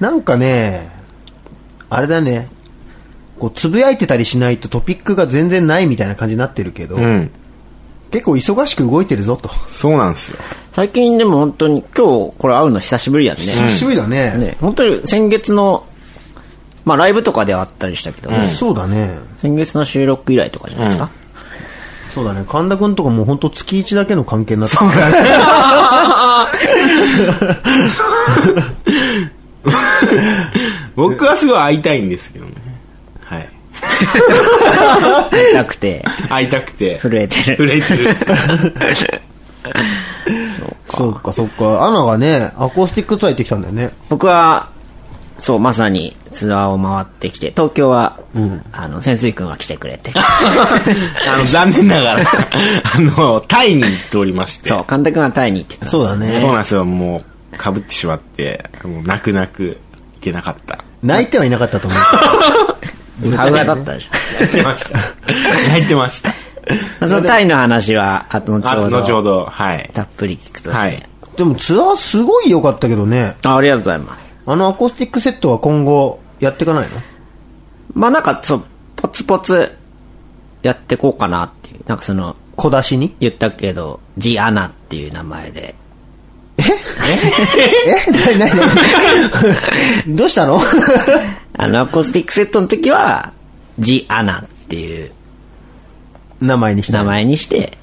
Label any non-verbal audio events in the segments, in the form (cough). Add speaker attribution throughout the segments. Speaker 1: なんかね、あれだね、こう、つぶやいてたりしないとトピックが全然ないみたいな感じになってるけど、
Speaker 2: うん。
Speaker 1: 結構忙しく動いてるぞと。
Speaker 2: そうなんですよ。
Speaker 3: 最近でも本当に今日これ会うの久しぶりやね。
Speaker 1: 久しぶりだね。
Speaker 3: ね、本当に先月の、まあライブとかではあったりしたけど、
Speaker 1: そうだね。
Speaker 3: 先月の収録以来とかじゃないですか。
Speaker 1: そうだね。神田くんとかもうほんと月1だけの関係になってる。
Speaker 2: 僕はすごい会いたいんですけどね。はい。
Speaker 3: なくて、
Speaker 2: 会いたくて。
Speaker 3: 震えて
Speaker 2: (laughs)
Speaker 3: る。
Speaker 2: 震えてるんですよ。
Speaker 1: そうか、そうか。アナがね、アコースティックツアー行ってきたんだよね。
Speaker 3: 僕は、そう、まさにツアーを回ってきて、東京は、あの、潜水君が来てくれて。 (laughs)
Speaker 2: あの、残念ながら、 (laughs) あの、タイに行っておりまして。
Speaker 3: そう、神田君はタイに行ってた。
Speaker 1: (laughs) そうだね。
Speaker 2: そうなんですよ。もう、被ってしまって、もう泣く泣く行けなかった。
Speaker 1: 泣いてはいなかったと思う。 (laughs)
Speaker 3: ハウアだったでしょ。
Speaker 2: 泣いてました。 (laughs) 泣いてました。
Speaker 3: まあそのタイの話は、あと後
Speaker 2: あ
Speaker 3: ほど。
Speaker 2: 後ほど、はい。
Speaker 3: たっぷり聞くとして。
Speaker 2: はい。
Speaker 1: でもツアーすごい良かったけどね。
Speaker 3: あありがとうございます。
Speaker 1: あのアコースティックセットは今後やっていかないの
Speaker 3: まあなんか、そう、ポツポツやってこうかなっていう。なんかその、
Speaker 1: 小出しに
Speaker 3: 言ったけど、ジ・アナっていう名前で。
Speaker 1: え何何 (laughs) 何どうしたの
Speaker 3: あの、アコースティックセットの時は、ジ・アナっていう
Speaker 1: 名前にした
Speaker 3: 名
Speaker 1: の。
Speaker 3: 前にして、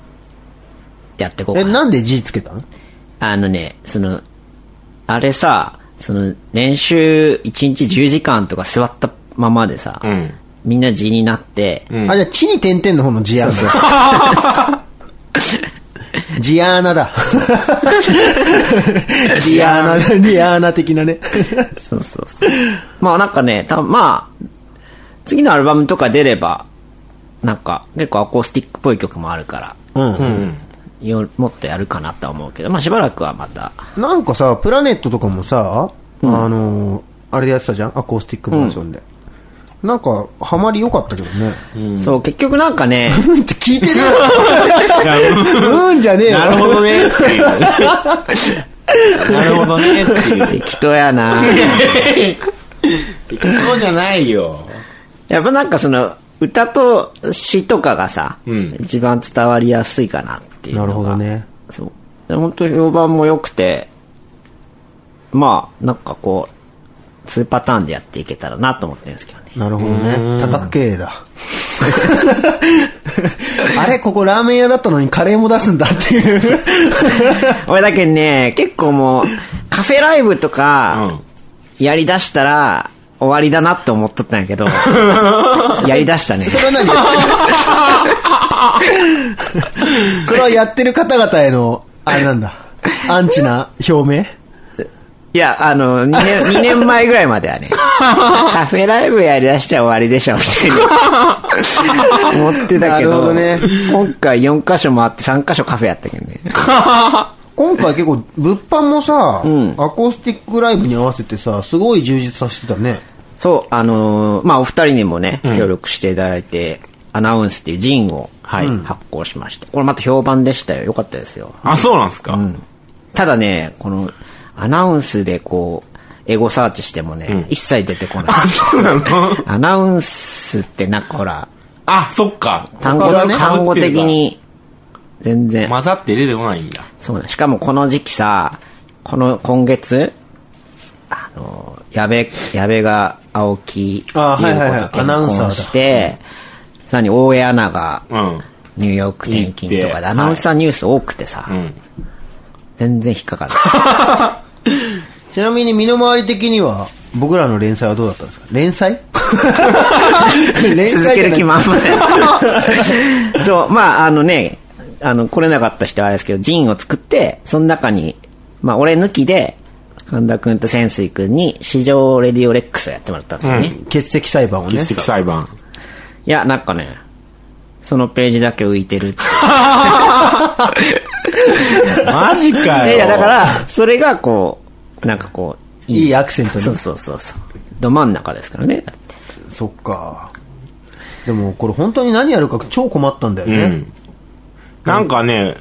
Speaker 3: やってこう
Speaker 1: え、
Speaker 3: かな。
Speaker 1: なんで G つけたの
Speaker 3: あのね、その、あれさ、その、練習1日10時間とか座ったままでさ、
Speaker 2: ん
Speaker 3: みんな G になって、
Speaker 1: あ、じゃあ、地に点々の方のジアーナ。 (laughs) ジアーナだ。リアーナだ、リアーナ的なね。
Speaker 3: そうそうそう。まあなんかね、たまあ、次のアルバムとか出れば、なんか結構アコースティックっぽい曲もあるから、
Speaker 1: うん。
Speaker 3: よもっとやるかなとは思うけど、まあしばらくはまた、
Speaker 1: なんかさ、プラネットとかもさ、あのー、あれでやってたじゃんアコースティックバージョンで。なんか、ハマり良かったけどね。
Speaker 3: そう、結局なんか (laughs) ね、
Speaker 1: うんって聞いてるようんじゃねえよ。
Speaker 2: なるほどね、っていう。なるほどね、っていう。
Speaker 3: 適当やな
Speaker 2: そうじゃないよ。
Speaker 3: やっぱなんかその、歌と詩とかがさ、
Speaker 2: ん
Speaker 3: 一番伝わりやすいかなっていうの
Speaker 1: な
Speaker 3: が。
Speaker 1: るほどね。
Speaker 3: そう。で本当評判も良くて、まあ、なんかこう、2パターンでやっていけたらなと思ってるんですけど (laughs) ね。
Speaker 1: なるほどね。叩けえだ。 (laughs) あれここラーメン屋だったのにカレーも出すんだって (laughs) いう。
Speaker 3: 俺だけね、結構もう、カフェライブとか、やりだしたら、終わりだなって思っとったんや (laughs) けど、やりだしたね。
Speaker 1: それは何 (laughs) それはやってる方々への、あれなんだ。アンチな表明
Speaker 3: いや、あの、2年、二年前ぐらいまではね、カフェライブやりだしたら終わりでしょ、みたいな。思ってたけ
Speaker 1: なるほ
Speaker 3: ど、
Speaker 1: どね
Speaker 3: 今回4カ所回って3カ所カフェやったけどね。
Speaker 1: 今回結構、物販もさ、アコースティックライブに合わせてさ、すごい充実させてたね。
Speaker 3: そう、あのーまあ、お二人にもね、協力していただいて、アナウンスっていうジンを
Speaker 2: はい
Speaker 3: 発行しました。これまた評判でしたよ。よかったですよ。
Speaker 2: あ、そうなんですか。
Speaker 3: ただね、この、アナウンスでこう、エゴサーチしてもね、一切出てこない。
Speaker 2: そうなの
Speaker 3: アナウンスってなんかほら、
Speaker 2: あ、そっか。
Speaker 3: 単語、
Speaker 2: 他がね
Speaker 3: 単語的。に、全然、
Speaker 2: 混ざって出てこないんだ。
Speaker 3: そうだ。しかもこの時期さ、この、今月、あの、矢部、矢部が青木優子
Speaker 1: あはいはいはい
Speaker 3: と結
Speaker 1: アナウンサーだ
Speaker 3: 婚して、何、大江アナが、
Speaker 2: うん。
Speaker 3: ニューヨーク転勤と
Speaker 2: 行っ
Speaker 3: か
Speaker 2: て
Speaker 3: で、アナウンサーニュース多くてさ、
Speaker 2: ん
Speaker 3: 全然引っかかる。
Speaker 1: ちなみに身の回り的には、僕らの連載はどうだったんですか連載 (laughs) 連載じゃな
Speaker 3: 続
Speaker 1: い
Speaker 3: ける気満々 (laughs) そう、まあ、あのね、あの、来れなかった人はあれですけど、ジンを作って、その中に、まあ、俺抜きで、神田くんと潜水くんに、市場レディオレックスをやってもらったんですよね。い
Speaker 1: 欠席裁判をね。
Speaker 2: 実績裁判。
Speaker 3: や、なんかね、そのページだけ浮いてるって。
Speaker 2: マジかよ。
Speaker 3: いや、だから、それがこう、なんかこう、
Speaker 1: いいアクセントに
Speaker 3: そうそうそうそう。ど真ん中ですからね。だって
Speaker 1: そっか。でもこれ本当に何やるか超困ったんだよね。
Speaker 2: なんかね、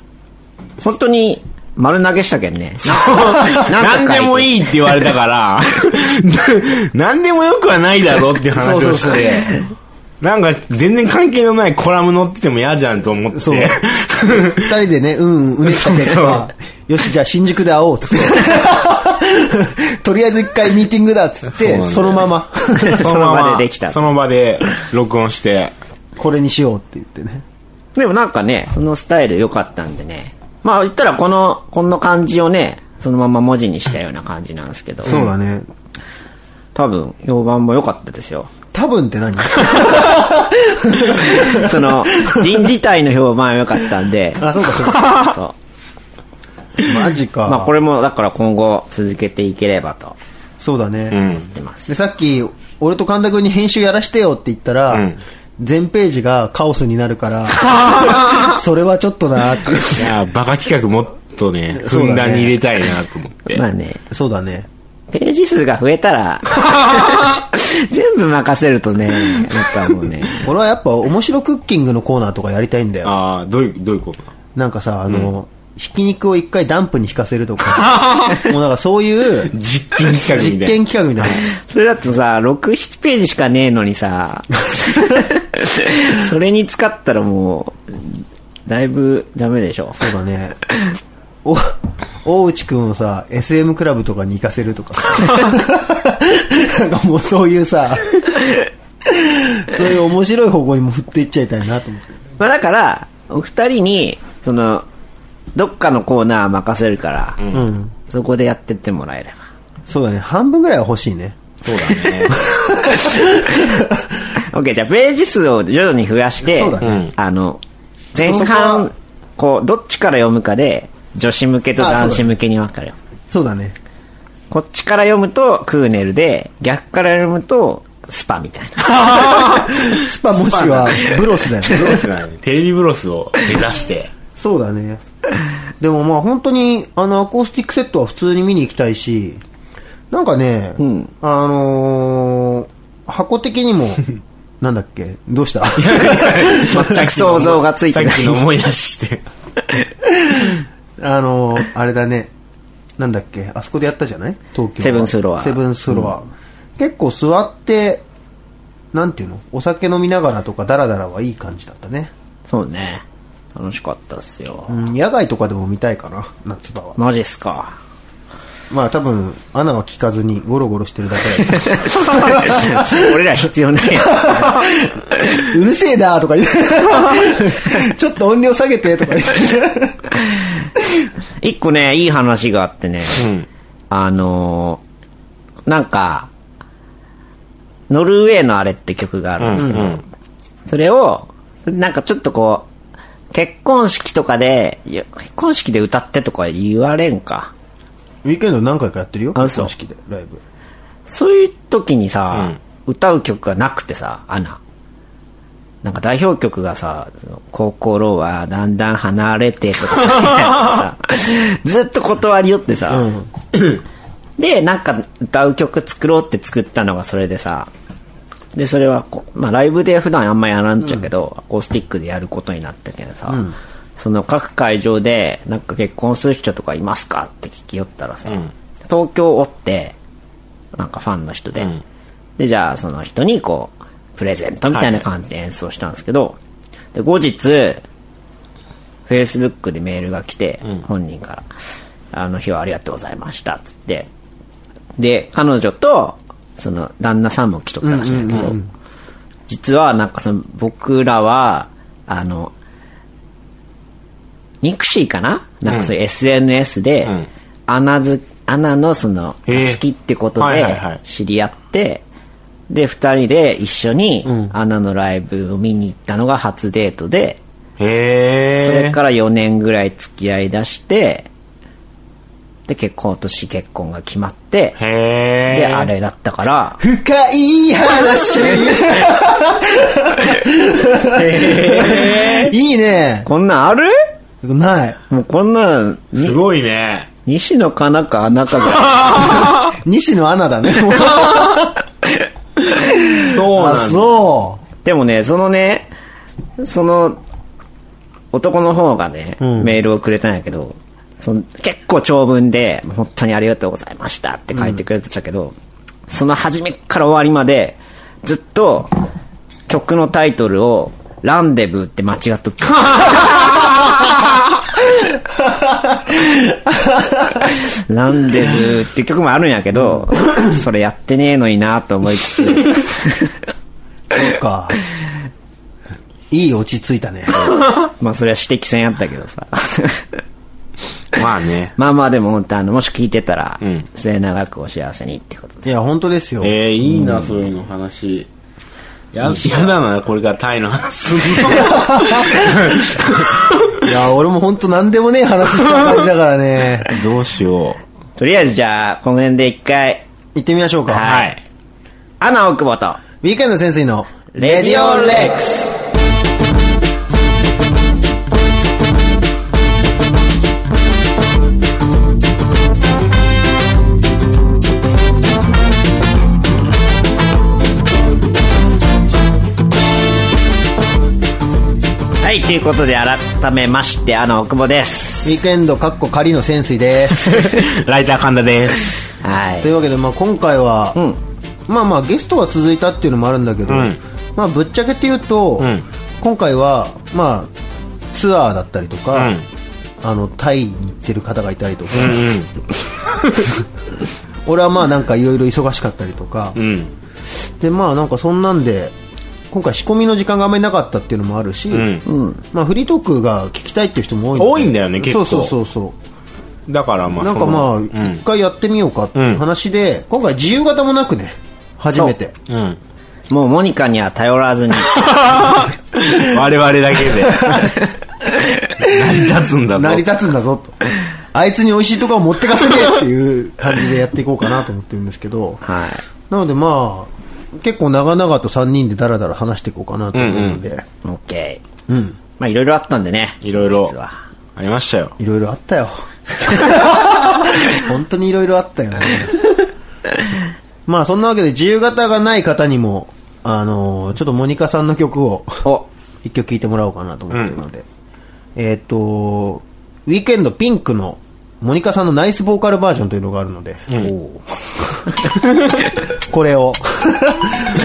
Speaker 3: 本当に、丸投げしたけんね。
Speaker 2: 何でも
Speaker 3: い。
Speaker 2: いいって言われたから、何でもよくはないだろって話を
Speaker 1: そう
Speaker 2: し
Speaker 1: そう
Speaker 2: て、なんか全然関係のないコラム載ってても嫌じゃんと思って、
Speaker 1: そう
Speaker 2: (laughs)
Speaker 1: 二人でね、うん、うん、うねった結
Speaker 2: そう
Speaker 1: 果、よし、じゃあ新宿で会おう、つって。とりあえず一回ミーティングだ、つっ
Speaker 2: うな
Speaker 1: て、
Speaker 2: んだよ
Speaker 1: そのまま、
Speaker 3: その場でできた
Speaker 2: その場で録音して、
Speaker 1: これにしようって言ってね。
Speaker 3: でもなんかね、そのスタイル良かったんでね。まあ言ったらこの、この感じをね、そのまま文字にしたような感じなんですけど。
Speaker 1: そうだね。
Speaker 3: 多分、評判も良かったですよ。
Speaker 1: 多分って何 (laughs)
Speaker 3: その、人事体の評判良かったんで。
Speaker 1: あ、そうか、そうか。
Speaker 3: そう。
Speaker 1: マジか。
Speaker 3: まあこれもだから今後続けていければと
Speaker 1: そうだね。
Speaker 2: うん。
Speaker 3: 言ってます。
Speaker 1: でさっき俺と神田君に編集やらしてよって言ったら、
Speaker 2: うん
Speaker 1: 全ページがカオスになるからそれはちょっとなーって
Speaker 2: いや、バカ企画もっとね、ふんだんに入れたいなと思って。
Speaker 3: まあね、
Speaker 1: そうだね
Speaker 3: ページ数が増え
Speaker 1: (laughs)
Speaker 3: たら、全部任せるとね、なんかもうね、
Speaker 1: 俺はやっぱ面白クッキングのコーナーとかやりたいんだよ
Speaker 2: ああ、どういう、どういうこと
Speaker 1: なんかさあの、ひき肉を一回ダンプに引かせると (laughs) かもうなんかそう (laughs) いう
Speaker 2: 実験企画み
Speaker 1: 実
Speaker 2: たいな。
Speaker 1: 験企画みたいな
Speaker 3: それだとさ、6、7ページしかねえの
Speaker 1: (laughs)
Speaker 3: にさ、それに使ったらもう、だいぶダメでしょ。
Speaker 1: そうだ (laughs) ねお大内くんをさ SM クラブとかに行かせるとか (laughs) なんかもうそういうさそういう面白い方向にも振っていっちゃいたいなと思って
Speaker 3: まあだから、お二人に、その、どっかのコーナー任せるから、
Speaker 1: うん。
Speaker 3: そこでやってってもらえれば。
Speaker 1: そうだね。半分ぐらいは欲しいね。
Speaker 2: そうだね。
Speaker 3: OK、じゃあページ数を徐々に増やして、
Speaker 1: そうだ
Speaker 2: ね
Speaker 3: あの、前
Speaker 1: そこは
Speaker 3: 半、こう、どっちから読むかで、女子向けと
Speaker 1: あそうだね
Speaker 3: 男子向けに分かれよう。
Speaker 1: そうだね。
Speaker 3: こっちから読むとクーネルで、逆から読むとスパみたいな。
Speaker 1: スパもしくはブロスだよね。
Speaker 2: ブロスだね。 (laughs) テレビブロスを目指して。
Speaker 1: そうだね。でもまあ本当に、あの、アコースティックセットは普通に見に行きたいし、なんかね、
Speaker 3: ん
Speaker 1: あのー箱的
Speaker 3: (laughs)
Speaker 1: にも、なんだっけどうした
Speaker 3: 全く想像がついてな
Speaker 2: さっき
Speaker 3: い。
Speaker 2: の思い出して。
Speaker 1: あのーあれだね。なんだっけあそこでやったじゃない東京。
Speaker 3: セブンスフロア
Speaker 1: セブンスフロア。結構座って、なんていうのお酒飲みながらとかダラダラはいい感じだったね。
Speaker 3: そうね。楽しかったっすよ
Speaker 1: う。ん、野外とかでも見たいかな、夏場は。
Speaker 3: マジっすか。
Speaker 1: まあ多分、穴は聞かずにゴロゴロしてるだけだけ
Speaker 3: 俺ら必要ないやつ。
Speaker 1: ど (laughs) うるせえなとか言う。ちょっと音量下げてとか言って。
Speaker 3: 一個ね、いい話があってね。
Speaker 2: うん。
Speaker 3: あのーなんか、ノルウェーのあれって曲があるんですけど、
Speaker 2: うんうん
Speaker 3: それを、なんかちょっとこう、結婚式とかで、いや結婚式で歌ってとか言われんか。
Speaker 1: ウィークエンド何回かやってるよ。
Speaker 3: あそう
Speaker 1: 結婚式で、ライブ。
Speaker 3: そういう時にさ、歌う曲がなくてさ、アナ。なんか代表曲がさ、その心はだんだん離れてとかさ、ずっと断りよってさ、で、なんか歌う曲作ろうって作ったのがそれでさ、で、それはこう、まあライブで普段あんまやらんちゃうけど、アコースティックでやることになったけどさ、その各会場で、なんか結婚する人とかいますかって聞きよったらさ、東京おって、なんかファンの人で、で、じゃあその人にこう、プレゼントみたいな感じで演奏したんですけど、で、後日、フェイスブックでメールが来て、本人から、あの日はありがとうございました、つって。で、彼女と、その、旦那さんも来とったらしいんだけど、実はなんかその、僕らは、あの、ミクシーかななんかそういう SNS で、
Speaker 2: ん
Speaker 3: アナズ、アナのその、
Speaker 2: へえ
Speaker 3: 好きってこと
Speaker 2: はいはい
Speaker 3: で
Speaker 2: はい
Speaker 3: 知り合って、で、二人で一緒に、アナのライブを見に行ったのが初デートで、
Speaker 2: へえ。
Speaker 3: それから4年ぐらい付き合い出して、で、結婚、今年結婚が決まって、
Speaker 2: へえ。
Speaker 3: で、あ。れだったから、
Speaker 1: 深い話いいね。
Speaker 3: こんなんある
Speaker 1: ない。
Speaker 3: もうこんなん、に
Speaker 2: すごいね。
Speaker 3: 西野かなか穴かぐら
Speaker 1: 西野アナ (laughs) だね。
Speaker 2: そう
Speaker 1: あ、
Speaker 2: なんだ。
Speaker 1: そ
Speaker 3: いでもね、そのね、その、男の方がね、メールをくれたんやけど、その結構長文で、本当にありがとうございましたって書いてくれてたけど、その初めから終わりまで、ずっと曲のタイトルを、ランデブーって間違っとった。ランデブーって曲もあるんやけど、それやってねえのになと思いつつ、
Speaker 1: そっか。いい落ち着いたね。
Speaker 3: まあそれは指摘せんやったけどさ。 (laughs)
Speaker 2: まあね。
Speaker 3: まあまあでも本当あの、もし聞いてたら、
Speaker 2: ん
Speaker 3: 末永くお幸せにってことで。
Speaker 1: いや、本当ですよ。
Speaker 2: えー、いいな、そういうの話。や、やだな、これからタイの話すんの。
Speaker 1: いや、俺も本当なんでもねえ話した感じだからね。
Speaker 2: どうしよ
Speaker 3: とりあえずじゃあ、この辺で一回、
Speaker 1: 行ってみましょうか。
Speaker 3: はい。アナ大久保と、
Speaker 1: ウィークエンド潜水の、
Speaker 3: レディオレックス。はい、ということで改めまして、アナ大久保です。
Speaker 1: ウィークエンド、かっこ仮の潜水です。
Speaker 2: う。ライター神田です。
Speaker 3: はい
Speaker 1: と。いうわけで、まあ、今回は、
Speaker 3: ん
Speaker 1: まあまあゲストが続いたっていうのもあるんだけど、
Speaker 2: ん
Speaker 1: まあ、ぶっちゃけて言うと、
Speaker 2: ん
Speaker 1: 今回は、まあ、ツアーだったりとか、
Speaker 2: うん
Speaker 1: あのタイに行ってる方がいたりとか、 (laughs) 俺はまあなんかいろいろ忙しかったりとか、
Speaker 2: うん。
Speaker 1: でまあなんかそんなんで今回仕込みの時間があんまりなかったっていうのもあるし、
Speaker 2: ん
Speaker 1: まあ、フリートークが聞きたいっていう人も多い
Speaker 2: 多いんだよね結構
Speaker 1: そうそうそうそう
Speaker 2: だからまあ、
Speaker 1: なん
Speaker 2: そ
Speaker 1: か
Speaker 2: の
Speaker 1: まあ、
Speaker 2: う
Speaker 1: 一、
Speaker 2: ん。
Speaker 1: 回やってみようかっていう話で、今回自由形もなくね、初めて。
Speaker 2: うん。
Speaker 3: もうモニカには頼らず
Speaker 4: (laughs)
Speaker 3: に。
Speaker 2: 我々だけで。成り立つんだぞ。
Speaker 1: 成り立つんだぞと。あいつに美味しいところを持ってかせてっていう感じでやっていこうかなと思ってるんですけど、
Speaker 3: はい。
Speaker 1: なのでまあ、結構長々と3人でダラダラ話していこうかなと思うので、
Speaker 3: オッケー。
Speaker 1: うん、
Speaker 3: まあいろいろあったんでね。
Speaker 2: いろいろ
Speaker 3: 実は。
Speaker 2: ありましたよ。
Speaker 1: いろいろあ
Speaker 2: (laughs)
Speaker 1: ったよ。本当にいろいろあったよね。まあそんなわけで自由形がない方にも、あのーちょっとモニカさんの曲を
Speaker 3: お、
Speaker 1: 一曲聴いてもらおうかなと思ってるので、えっ、とウィークエンドピンクのモニカさんのナイスボーカルバージョンというのがあるので、おーこれを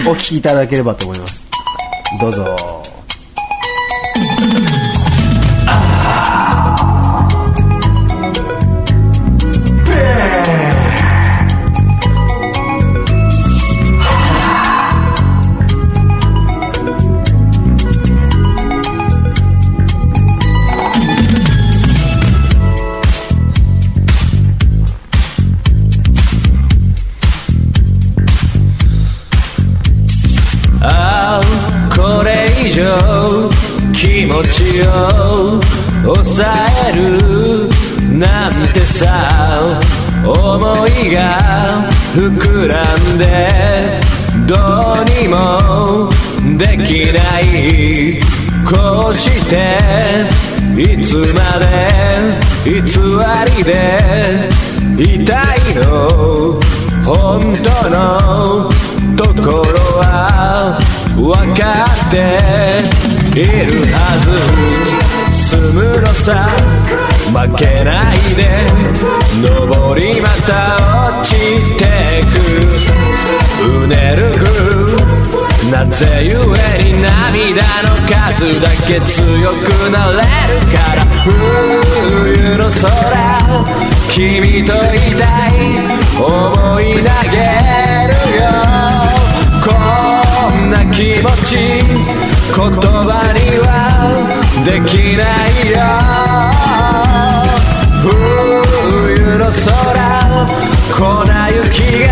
Speaker 1: お聴きいただければと思いますどうぞ
Speaker 4: ああこれ以上気持ちを抑えるなんてさ思いが膨らんでどうにもできないこうしていつまで偽りでいたいの本当のところは分かっているはず住むのさ負けないで上りまた落ちてくうねるくなぜゆえに涙の数だけ強くなれるから冬の空君といたい思い投げるよこんな気持ち言葉にはできないよ冬の空粉雪が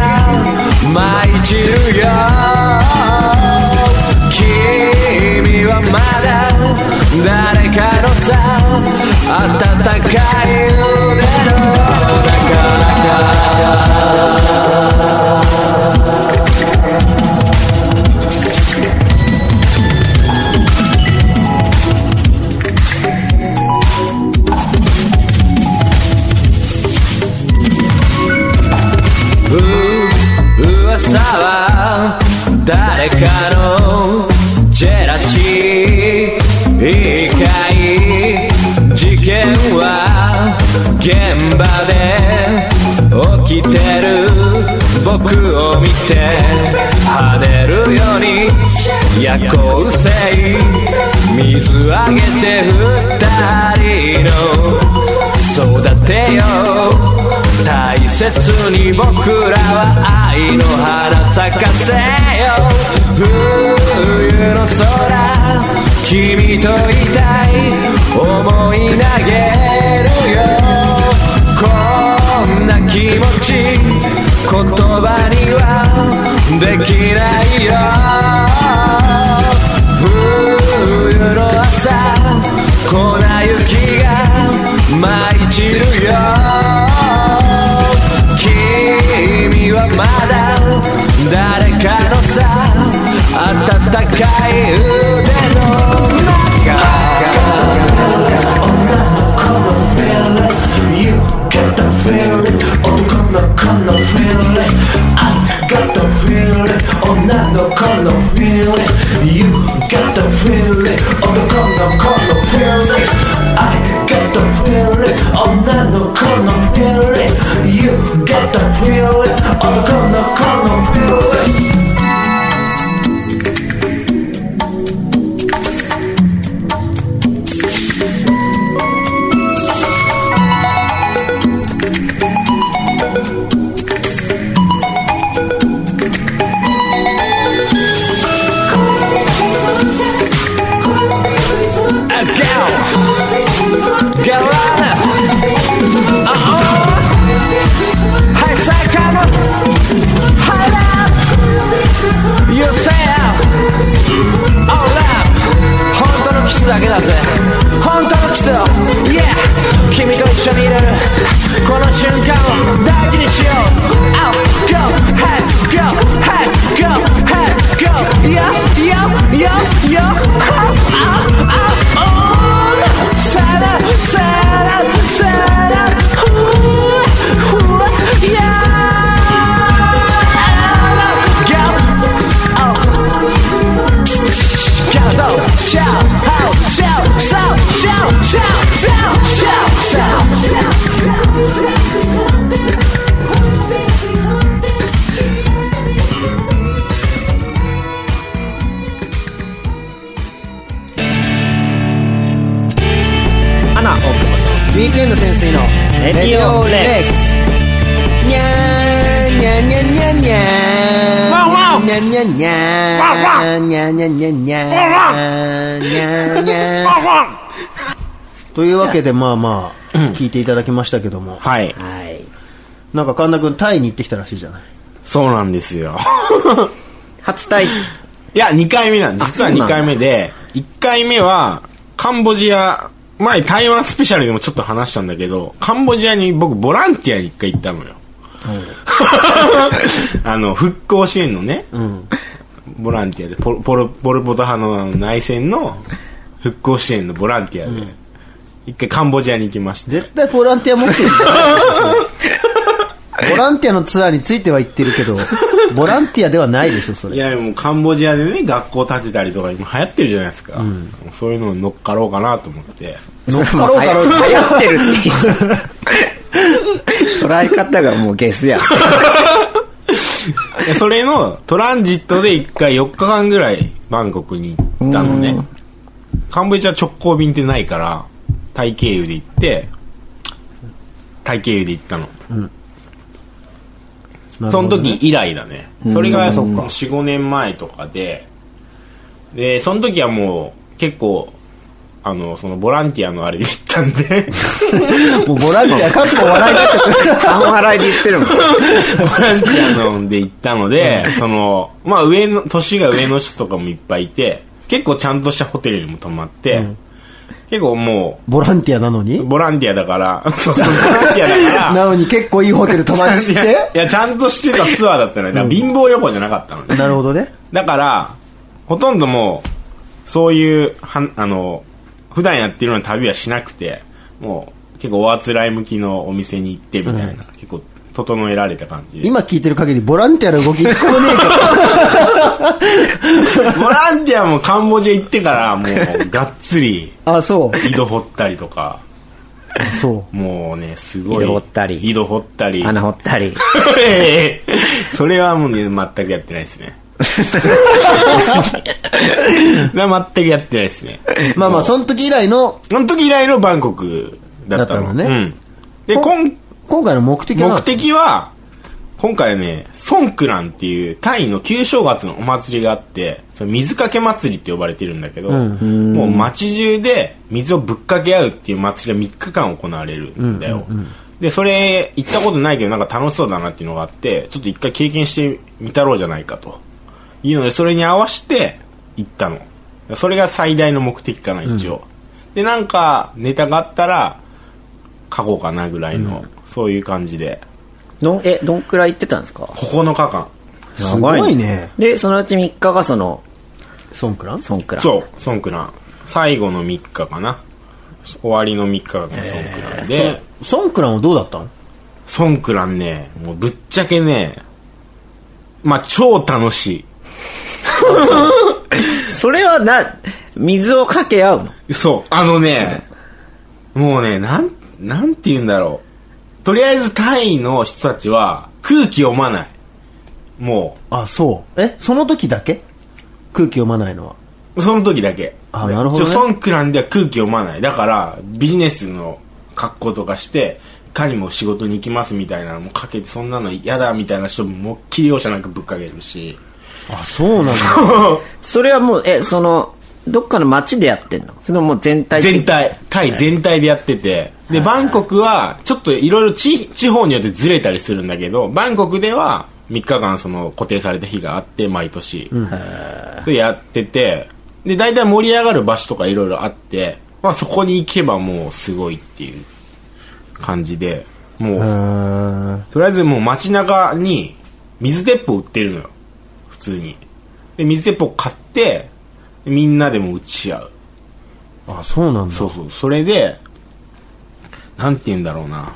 Speaker 4: 舞い散るよ君はまだ誰かのさ温かい腕の中からう噂は誰かのジェラシーいいかい事件は現場で起きてる僕を見て跳ねるように夜行性水あげて二人の育てよう大切に僕らは愛の花咲かせよう冬の空君といたい思い投げるよこんな気持ち言葉にはできないよ冬の朝粉雪が舞い散るよ君はまだ誰かのさ温かい腕のだけだぜ本当のキスを Yeah 君と一緒にいれるこの瞬間を大事にしよう Oh Go Hey Go Hey Go Hey Go Yo Yo Yo Yo Oh Oh Oh Oh さらさらさらふわふわ Yeah Go Go Shout shout, shout, shout, shout, shout, shout, shout.
Speaker 1: ウ
Speaker 3: アナ、大久保
Speaker 1: ィークエンド潜水の
Speaker 3: レディオレック
Speaker 1: スにゃーにゃんにゃんにゃんにゃん
Speaker 3: ワンワン
Speaker 1: にゃんにゃんにゃん
Speaker 3: ワンワ
Speaker 1: にゃんにゃんにゃんにゃん
Speaker 3: ワンワ
Speaker 1: にゃんにゃん
Speaker 3: と。は
Speaker 1: というわけでまあまあ聞いていただきましたけども
Speaker 2: はい。
Speaker 3: い。
Speaker 1: なんか神田君タイに行ってきたらしいじゃない
Speaker 2: そうなんですよ。 (laughs)
Speaker 3: 初対、
Speaker 1: (laughs)
Speaker 2: いや、2回目なんです実は
Speaker 3: そうな
Speaker 2: 2
Speaker 3: んだ
Speaker 2: 回目で、1回目は、カンボジア、前台湾スペシャルでもちょっと話したんだけど、カンボジアに僕ボランティアに1回行ったのよ。 (laughs) あの、復興支援のね、ボランティアで、ポルポルポルポト派のあの内戦の復興支援のボランティアで、一回カンボジアに行きました。
Speaker 1: 絶対ボランティア持ってるじゃんボランティアのツアーについては行ってるけどボランティアではないでしょそ
Speaker 2: い
Speaker 1: れ
Speaker 2: や、もうカンボジアでね、学校建てたりとか今流行ってるじゃないですか。そういうのに乗っかろうかなと思って。
Speaker 3: 乗っか
Speaker 1: ろうか
Speaker 3: (laughs)
Speaker 1: ろう
Speaker 3: 流行ってるっていう。捉え方がもうゲ
Speaker 1: (laughs)
Speaker 3: スや。
Speaker 2: でそれのトランジットで1回4日間ぐらいバンコクに行ったのねカンボジア直行便ってないからタイ経由で行ってタイ経由で行ったの、その時以来だねそれが45年前とかででその時はもう結構あのそのボランティアのあれで行ったんで
Speaker 1: もうボランティアかっこ笑いになっちゃってる
Speaker 3: 半笑いで言ってるもん。
Speaker 2: ボランティアので行ったので、その、まあ上の、年が上の人とかもいっぱいいて、結構ちゃんとしたホテルにも泊まって、結構も
Speaker 1: ボランティアなの
Speaker 2: う、
Speaker 1: に
Speaker 2: ボランティアだから、 (laughs)
Speaker 1: (laughs)
Speaker 2: そうそう、ボランティアだか
Speaker 1: な
Speaker 2: ら、
Speaker 1: のに結構いいホテル泊まっ
Speaker 2: い
Speaker 1: て
Speaker 2: や (laughs) いや、ちゃんとしてたツアーだったのよ。だから貧乏旅行じゃなかったのね。
Speaker 1: なるほどね
Speaker 2: だから、ほとんどもう、そういう、はあの、普段やってるような旅はしなくて、もう、結構おあつらい向きのお店に行ってみたいな、結構、整えられた感じで。
Speaker 1: 今聞いてる限りボランティアの動き一個
Speaker 2: (laughs)
Speaker 1: もねえけど
Speaker 2: ボランティアもカンボジア行ってから、もう、がっつり、
Speaker 1: あそう
Speaker 2: 井戸掘ったりとか、
Speaker 1: そ
Speaker 2: もうね、すごい。
Speaker 3: 井戸掘ったり
Speaker 2: 井戸掘ったり。
Speaker 3: 穴掘ったり。
Speaker 2: ええ (laughs) それはもうね、全くやってないですね。な全くやってないですね。
Speaker 1: う。まあまあ、その時以来の、
Speaker 2: その時以来のバンコクだったの
Speaker 1: だったのね
Speaker 2: うん。で、今、
Speaker 1: 今回の目的は
Speaker 2: 目、的は、今回ね、ソンクランっていうタイの旧正月のお祭りがあって、その水かけ祭りって呼ばれてるんだけど、もう街中で水をぶっかけ合うっていう祭りが3日間行われるんだよ。で、それ行ったことないけどなんか楽しそうだなっていうのがあって、ちょっと一回経験してみたろうじゃないかと。いうので、それに合わせて行ったの。それが最大の目的かな、一応。で、なんかネタがあったら、書こうかなぐらいの、そういう感じで
Speaker 3: どん、え、どんくらい行ってたんですか
Speaker 2: 9日間
Speaker 1: すごいね。
Speaker 3: で、そのうち3日がその、
Speaker 1: ソンクラン
Speaker 3: ソンクラ。
Speaker 2: そうソンクラン最後の3日かな終わりの3日がソンクランで、
Speaker 1: ソンクランはどうだったの
Speaker 2: ソンクランねもうぶっちゃけねまあ超楽し
Speaker 3: それはな、水をかけ合うの
Speaker 2: いそうあのね、もうねなんなんて言うんだろうとりあえずタイの人たちは空気読まないも
Speaker 1: あ、そう。え、その時だけ空気読まないのは。
Speaker 2: うその時だけ
Speaker 1: あなるほどね
Speaker 2: ソンクランでは空気読まないだからビジネスの格好とかしていかにも仕事に行きますみたいなのもかけてそんなの嫌だみたいな人ももっきり容赦なくぶっかけるし
Speaker 1: あ、そうなんだ。
Speaker 3: それはもう、え、その、どっかの街でやってんのそのもう全体的
Speaker 2: 全。体タイ全体でやっててでバンコクはちょっといろいろ地地方によってずれたりするんだけどバンコクでは3日間その固定された日があって毎年、でやっててで大体盛り上がる場所とかいろいろあって、まあ、そこに行けばもうすごいっていう感じでもう、
Speaker 1: うーん。
Speaker 2: とりあえずもう街中に水鉄砲売ってるのよ普通にで水鉄砲買ってみんなでも撃ち合う
Speaker 1: あ、そうなんだ。
Speaker 2: そうそうそれでなんて言うんだろうな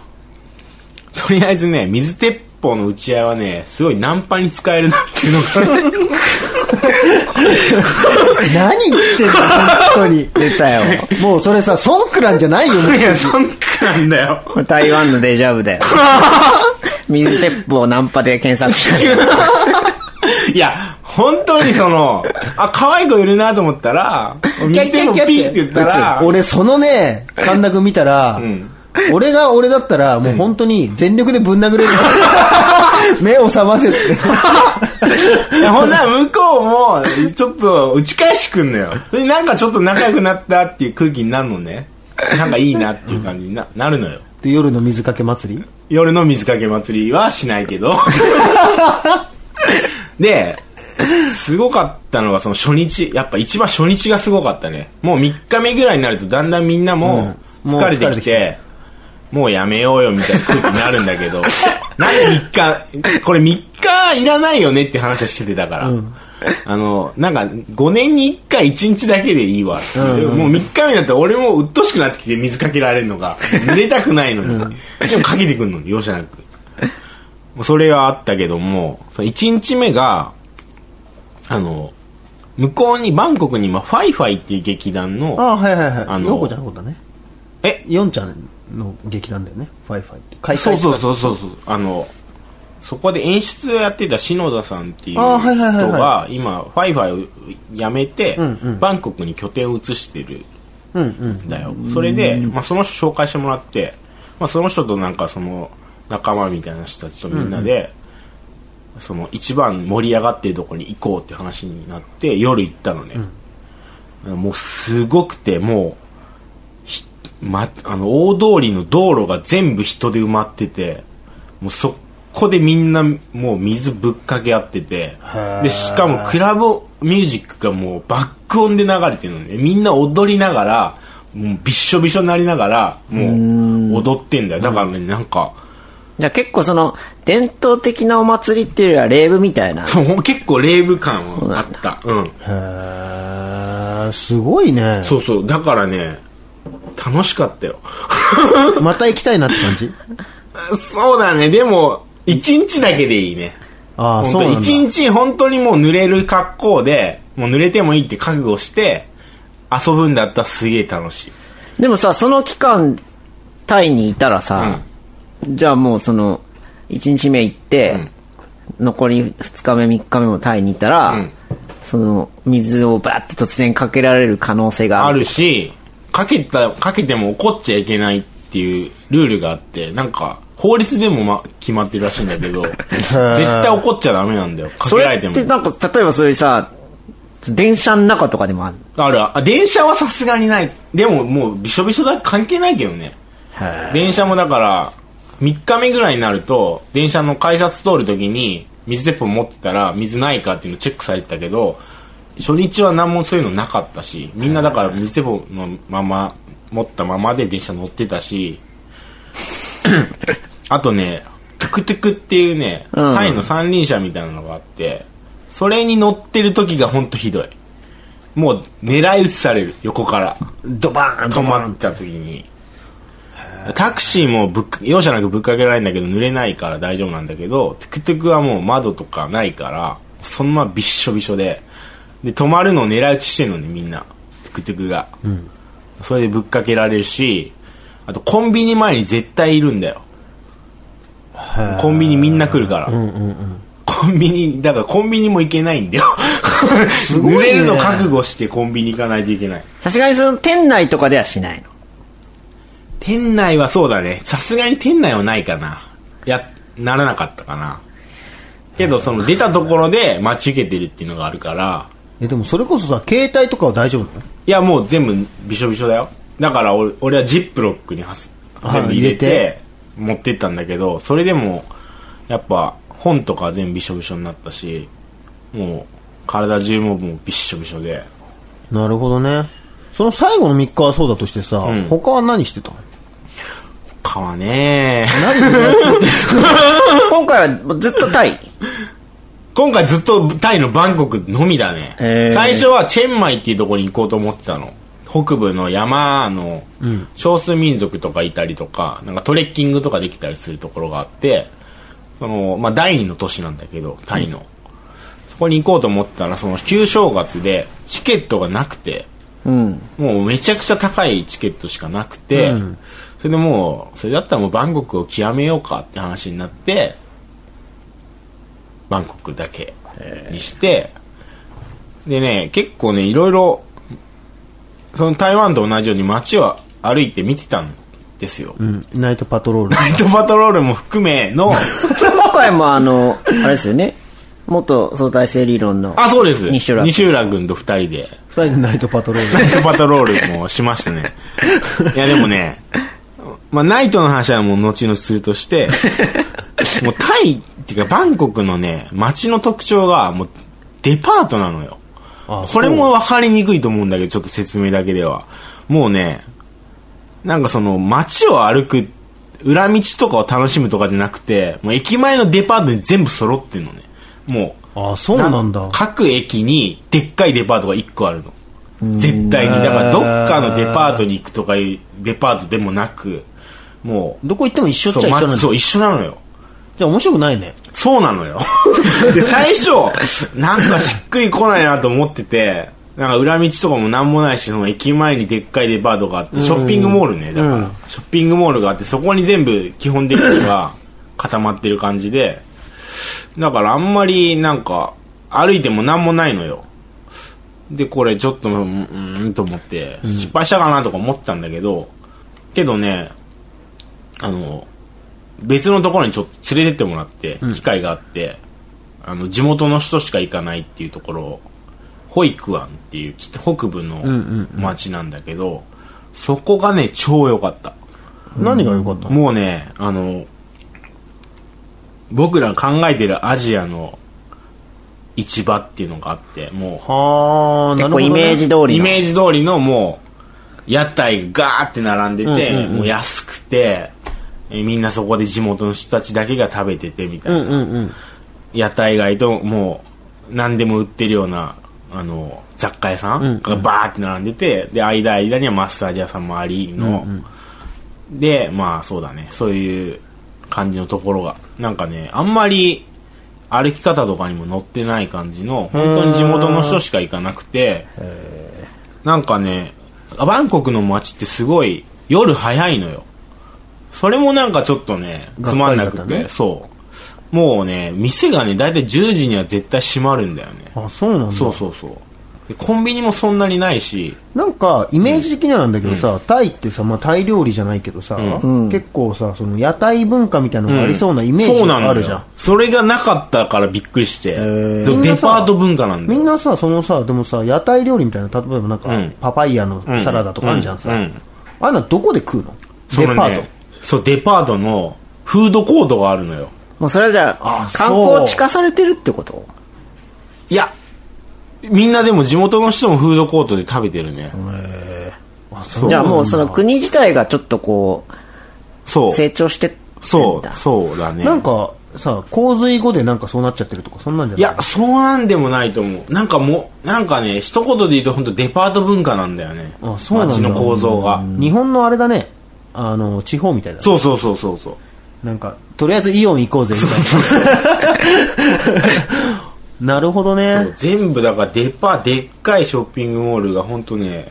Speaker 2: とりあえずね水鉄砲の打ち合いはねすごいナンパに使えるなっていうのが
Speaker 1: 何言ってんの本当
Speaker 2: (laughs)
Speaker 1: に。
Speaker 3: 出たよ。
Speaker 1: もうそれさ、ソンクランじゃないよ、
Speaker 2: いやそんくらいなんだよ
Speaker 3: これ台湾のデジャブだ
Speaker 1: (laughs)
Speaker 3: よ。水鉄砲ナンパで検索して。
Speaker 2: いや本当にそのあ可愛い子いるなと思ったら水鉄砲ピーって言ったら
Speaker 1: 俺そのね神田君見たら、
Speaker 2: ん
Speaker 1: 俺が俺だったらもう本当に全力でぶん殴
Speaker 2: (laughs)
Speaker 1: れる、目を覚ませって
Speaker 2: いやほんなら向こうも、ちょっと打ち返してくんのよ。で、なんかちょっと仲良くなったっていう空気になるのね。なんかいいなっていう感じにななるのよ。
Speaker 1: で夜の水かけ祭り
Speaker 2: 夜の水かけ祭りはしない
Speaker 1: (laughs)
Speaker 2: けど。で、すごかったのがその初日、やっぱ一番初日がすごかったね。もう3日目ぐらいになるとだんだんみんなも
Speaker 1: うんもう
Speaker 2: 疲れて
Speaker 1: 疲れてき
Speaker 2: きて、もうやめようよみたいな空気になるんだけど、なんで3日、これ3日いらないよねって話はしててだから。あの、なんか、5年に1回1日だけでいいわっていう。もう3日目だったら俺もうっとしくなってきて水かけられるのが、濡れたくないのに。でもかけてくんのに、容赦なく。もうそれはあったけども、その1日目が、あの、向こうに、バンコクに今、ファイファイっていう劇団
Speaker 1: あ
Speaker 2: の、
Speaker 1: あはいはいはい
Speaker 2: あの
Speaker 1: ヨンコちゃんのことだね
Speaker 2: え
Speaker 1: ヨンちゃんの劇団だよねファイファイって開催
Speaker 2: そうそうそうそうそう、あの、そこで演出をやってた篠田さんっていう人
Speaker 1: あーはいはいはいはい
Speaker 2: が、今、ファイファイを辞めて
Speaker 1: んう、
Speaker 2: バンコクに拠点を移してる
Speaker 1: うんうん
Speaker 2: だよそれで、まあ、その人紹介してもらって、まあ、その人となんかその仲間みたいな人たちとみんなで、その一番盛り上がってるとこに行こうって話になって夜行ったのね、もうすごくてもうひま、あの大通りの道路が全部人で埋まっててもうそこでみんなもう水ぶっかけ合ってて
Speaker 1: ー
Speaker 2: でしかもクラブミュージックがもうバックオンで流れてるのねみんな踊りながらもうびっしょびしょになりながらもう踊ってんだよだからねなんか (laughs)
Speaker 3: じゃあ結構その、伝統的なお祭りっていうよりは、レーブみたいな。
Speaker 2: そう結構レイブ感はあったうん
Speaker 1: へえすごいね
Speaker 2: そうそうだからね楽しかったよ
Speaker 1: また行きたいなって感じ
Speaker 2: そうだねでも一日だけでいいね
Speaker 1: ああ
Speaker 2: 本
Speaker 1: そう
Speaker 2: 当
Speaker 1: なん
Speaker 2: に
Speaker 1: だ
Speaker 2: 一日本当にもう濡れる格好でもう濡れてもいいって覚悟して遊ぶんだったらすげえ楽しい
Speaker 3: でもさ、その期間タイにいたらさ、じゃあもうその、1日目行って、残り2日目、3日目もタイにいたら、その、水をバーって突然かけられる可能性が
Speaker 2: あ
Speaker 3: ある。
Speaker 2: るしかけたかけても怒っちゃいけないっていうルールがあってなんか法律でも、ま、決まってるらしいんだけど絶対怒っちゃダメなんだよかけ
Speaker 3: そ
Speaker 2: られ
Speaker 3: れ
Speaker 2: ても
Speaker 3: ってなんか、例えばそういうさ、電車の中とかでもある。
Speaker 2: あるあ電車はさすがにないでももうびしょびしょだ関係ないけどね電車もだから3日目ぐらいになると電車の改札通るときに水鉄砲持ってたら水ないかっていうのチェックされてたけど初日は何もそういうのなかったしみんなだから水鉄砲のまま持ったままで電車乗ってた
Speaker 3: (laughs)
Speaker 2: しあとねトゥクトゥクっていうね、
Speaker 3: うん
Speaker 2: タイの三輪車みたいなのがあってそれに乗ってる時がほんとひどいもう狙い撃ちされる横から
Speaker 1: ドバーン
Speaker 2: 止まった時にタクシーもぶっか容赦なくぶっかけられるんだけど濡れないから大丈夫なんだけどトゥクトゥクはもう窓とかないからそのままびっしょびしょでで止まるのを狙い撃ちしてるのねみんなトゥクトゥクが、それでぶっかけられるしあとコンビニ前に絶対いるんだよコンビニみんな来るから、コンビニだからコンビニも行けないんだよ
Speaker 1: ごいね
Speaker 2: 濡れるの覚悟してコンビニ行かないといけない
Speaker 3: さすがにその店内とかではしないの。
Speaker 2: 店内はそうだね。さすがに店内はないかな。や、ならなかったかな。けど、その出たところで待ち受けてるっていうのがあるから、
Speaker 1: えでもそれこそさ携帯とかは大丈夫なの
Speaker 2: いや、もう全部びしょびしょだよ。だから俺、俺はジップロックにはす
Speaker 1: あ
Speaker 2: 全部入れ
Speaker 1: 入れ
Speaker 2: て、持ってったんだけど、それでも、やっぱ、本とかは全部びしょびしょになったし、もう、体中ももうびっしょびしょで。
Speaker 1: なるほどねその最後の3日はそうだとしてさ、
Speaker 2: ん
Speaker 1: 他は何してたの
Speaker 2: かわねえ。
Speaker 3: 今回はずっとタイ。
Speaker 2: 今回ずっとタイのバンコクのみだね、
Speaker 3: へー
Speaker 2: 最初はチェンマイっていうところに行こうと思ってたの北部の山の少数民族とかいたりとかなんかトレッキングとかできたりするところがあってその、まあ、第二の都市なんだけどタイの、そこに行こうと思ってたらその旧正月でチケットがなくて
Speaker 3: うん。
Speaker 2: もうめちゃくちゃ高いチケットしかなくて、それでもうそれだったらもうバンコクを極めようかって話になってバンコクだけにしてでね結構ねいろいろその台湾と同じように街を歩いて見てたんですよ、
Speaker 1: うんナイトパト (laughs) ロール
Speaker 2: ナイトパトロールも含めの
Speaker 3: 今回もあの、あれですよね。元相対性理論の。
Speaker 2: あそうです
Speaker 3: 西浦君
Speaker 2: 西浦君と2人で
Speaker 1: 2人でナイトパトロー
Speaker 2: ナ
Speaker 1: ル
Speaker 2: イトパトロールもしましたね。いや、でもね、まあ、ナイトの話はもう後々するとして、もうタイっていうかバンコクのね、街の特徴がもうデパートなのよ。
Speaker 1: (laughs) あ
Speaker 2: これも分かりにくいと思うんだけど、ちょっと説明だけでは。もうね、なんかその街を歩く、裏道とかを楽しむとかじゃなくて、もう駅前のデパートに全部揃ってんのね。もう、
Speaker 1: あそうなんだ
Speaker 2: 各駅にでっかいデパートが1個あるの絶対にだからどっかのデパートに行くとかいうデパートでもなくもう
Speaker 1: どこ行っても一緒っちゃ一緒なん
Speaker 2: そう
Speaker 1: だ
Speaker 2: まそう一緒なのよ
Speaker 1: じゃあ面白くないね
Speaker 2: そうなの
Speaker 1: (laughs)
Speaker 2: よで最初なんかしっくりこないなと思っててなんか裏道とかもなんもないしその駅前にでっかいデパートがあってショッピングモールねだから、
Speaker 1: うん
Speaker 2: ショッピングモールがあってそこに全部基本的には固まってる感じでだからあんまりなんか歩いてもなんもないのよでこれちょっとうーんと思って失敗したかなとか思ったんだけど、けどねあの別のところにちょっと連れてってもらって機会があって、あの地元の人しか行かないっていうところをホイクアンっていう北部の町なんだけど、そこがね超良かった
Speaker 1: 何が良かったの
Speaker 2: もうね、あの、僕ら考えてるアジアの市場っていうのがあって、も
Speaker 1: はあなる
Speaker 3: 結
Speaker 1: ほど
Speaker 3: 構
Speaker 1: ね
Speaker 3: イメージ通
Speaker 2: う、
Speaker 3: り
Speaker 2: イ
Speaker 3: の。
Speaker 2: メージ通りのもう、屋台がガーって並んでて、もう安くて、えみんなそこで地元の人たちだけが食べててみたいな。
Speaker 1: うんうんうん
Speaker 2: 屋台街ともう何でも売ってるようなあの雑貨屋さんがバーって並んでて、で間間にはマッサージ屋さんもありの、でまあそうだねそういう感じのところがなんかねあんまり歩き方とかにも載ってない感じの本当に地元の人しか行かなくてなんかねバンコクの街ってすごい夜早いのよそれもなんかちょっとね、つまんな
Speaker 1: が
Speaker 2: く、
Speaker 1: ってかりだったね
Speaker 2: そう。もうね、店がね、だいたい10時には絶対閉まるんだよね。
Speaker 1: あ、そうなんだ。
Speaker 2: そうそうそう。でコンビニもそんなにないし、
Speaker 1: なんか、イメージ的にはなんだけどさ、タイってさ、まあ、タイ料理じゃないけどさ、結構さ、その屋台文化みたいなのがありそうなイメージ
Speaker 2: そうなの
Speaker 1: が
Speaker 2: よ
Speaker 1: あるじゃん。
Speaker 2: それがなかったからびっくりして。でもデパート文化なんだ
Speaker 1: み
Speaker 2: よ
Speaker 1: ん。なさ、そのさ、でもさ、屋台料理みたいな、例えばなんか、
Speaker 2: うん
Speaker 1: パパイヤのサラダとかあるじゃんさ。
Speaker 2: うんうん
Speaker 1: あれなどこで食うの
Speaker 2: そ
Speaker 1: デ
Speaker 2: のね
Speaker 1: パート。
Speaker 2: そう、デパートのフードコートがあるのよ。
Speaker 3: もうそれはじゃあ
Speaker 1: あ、
Speaker 3: 観光地化されてるってこと
Speaker 2: いや、みんなでも地元の人もフードコートで食べてるね。
Speaker 1: あそう
Speaker 3: じゃあもうその国自体がちょっとこ、
Speaker 2: そうう。
Speaker 3: 成長してって
Speaker 2: そ
Speaker 3: ん
Speaker 2: う、
Speaker 3: だ。
Speaker 2: そうだね。
Speaker 1: なんかさ、洪水後でなんかそうなっちゃってるとか、そんなんじゃない
Speaker 2: いや、そうなんでもないと思う。なんかもう、なんかね、一言で言うと本当デパート文化なんだよね。
Speaker 1: あそうなんだ
Speaker 2: 街の構造が。
Speaker 1: 日本のあれだね、あの、地方みたいだね、
Speaker 2: そうそうそうそうそう。
Speaker 1: なんか、とりあえずイオン行こうぜ、みたい
Speaker 2: (laughs)
Speaker 1: な。なるほどね。
Speaker 2: 全部だからデパ、でっかいショッピングモールが本当ね、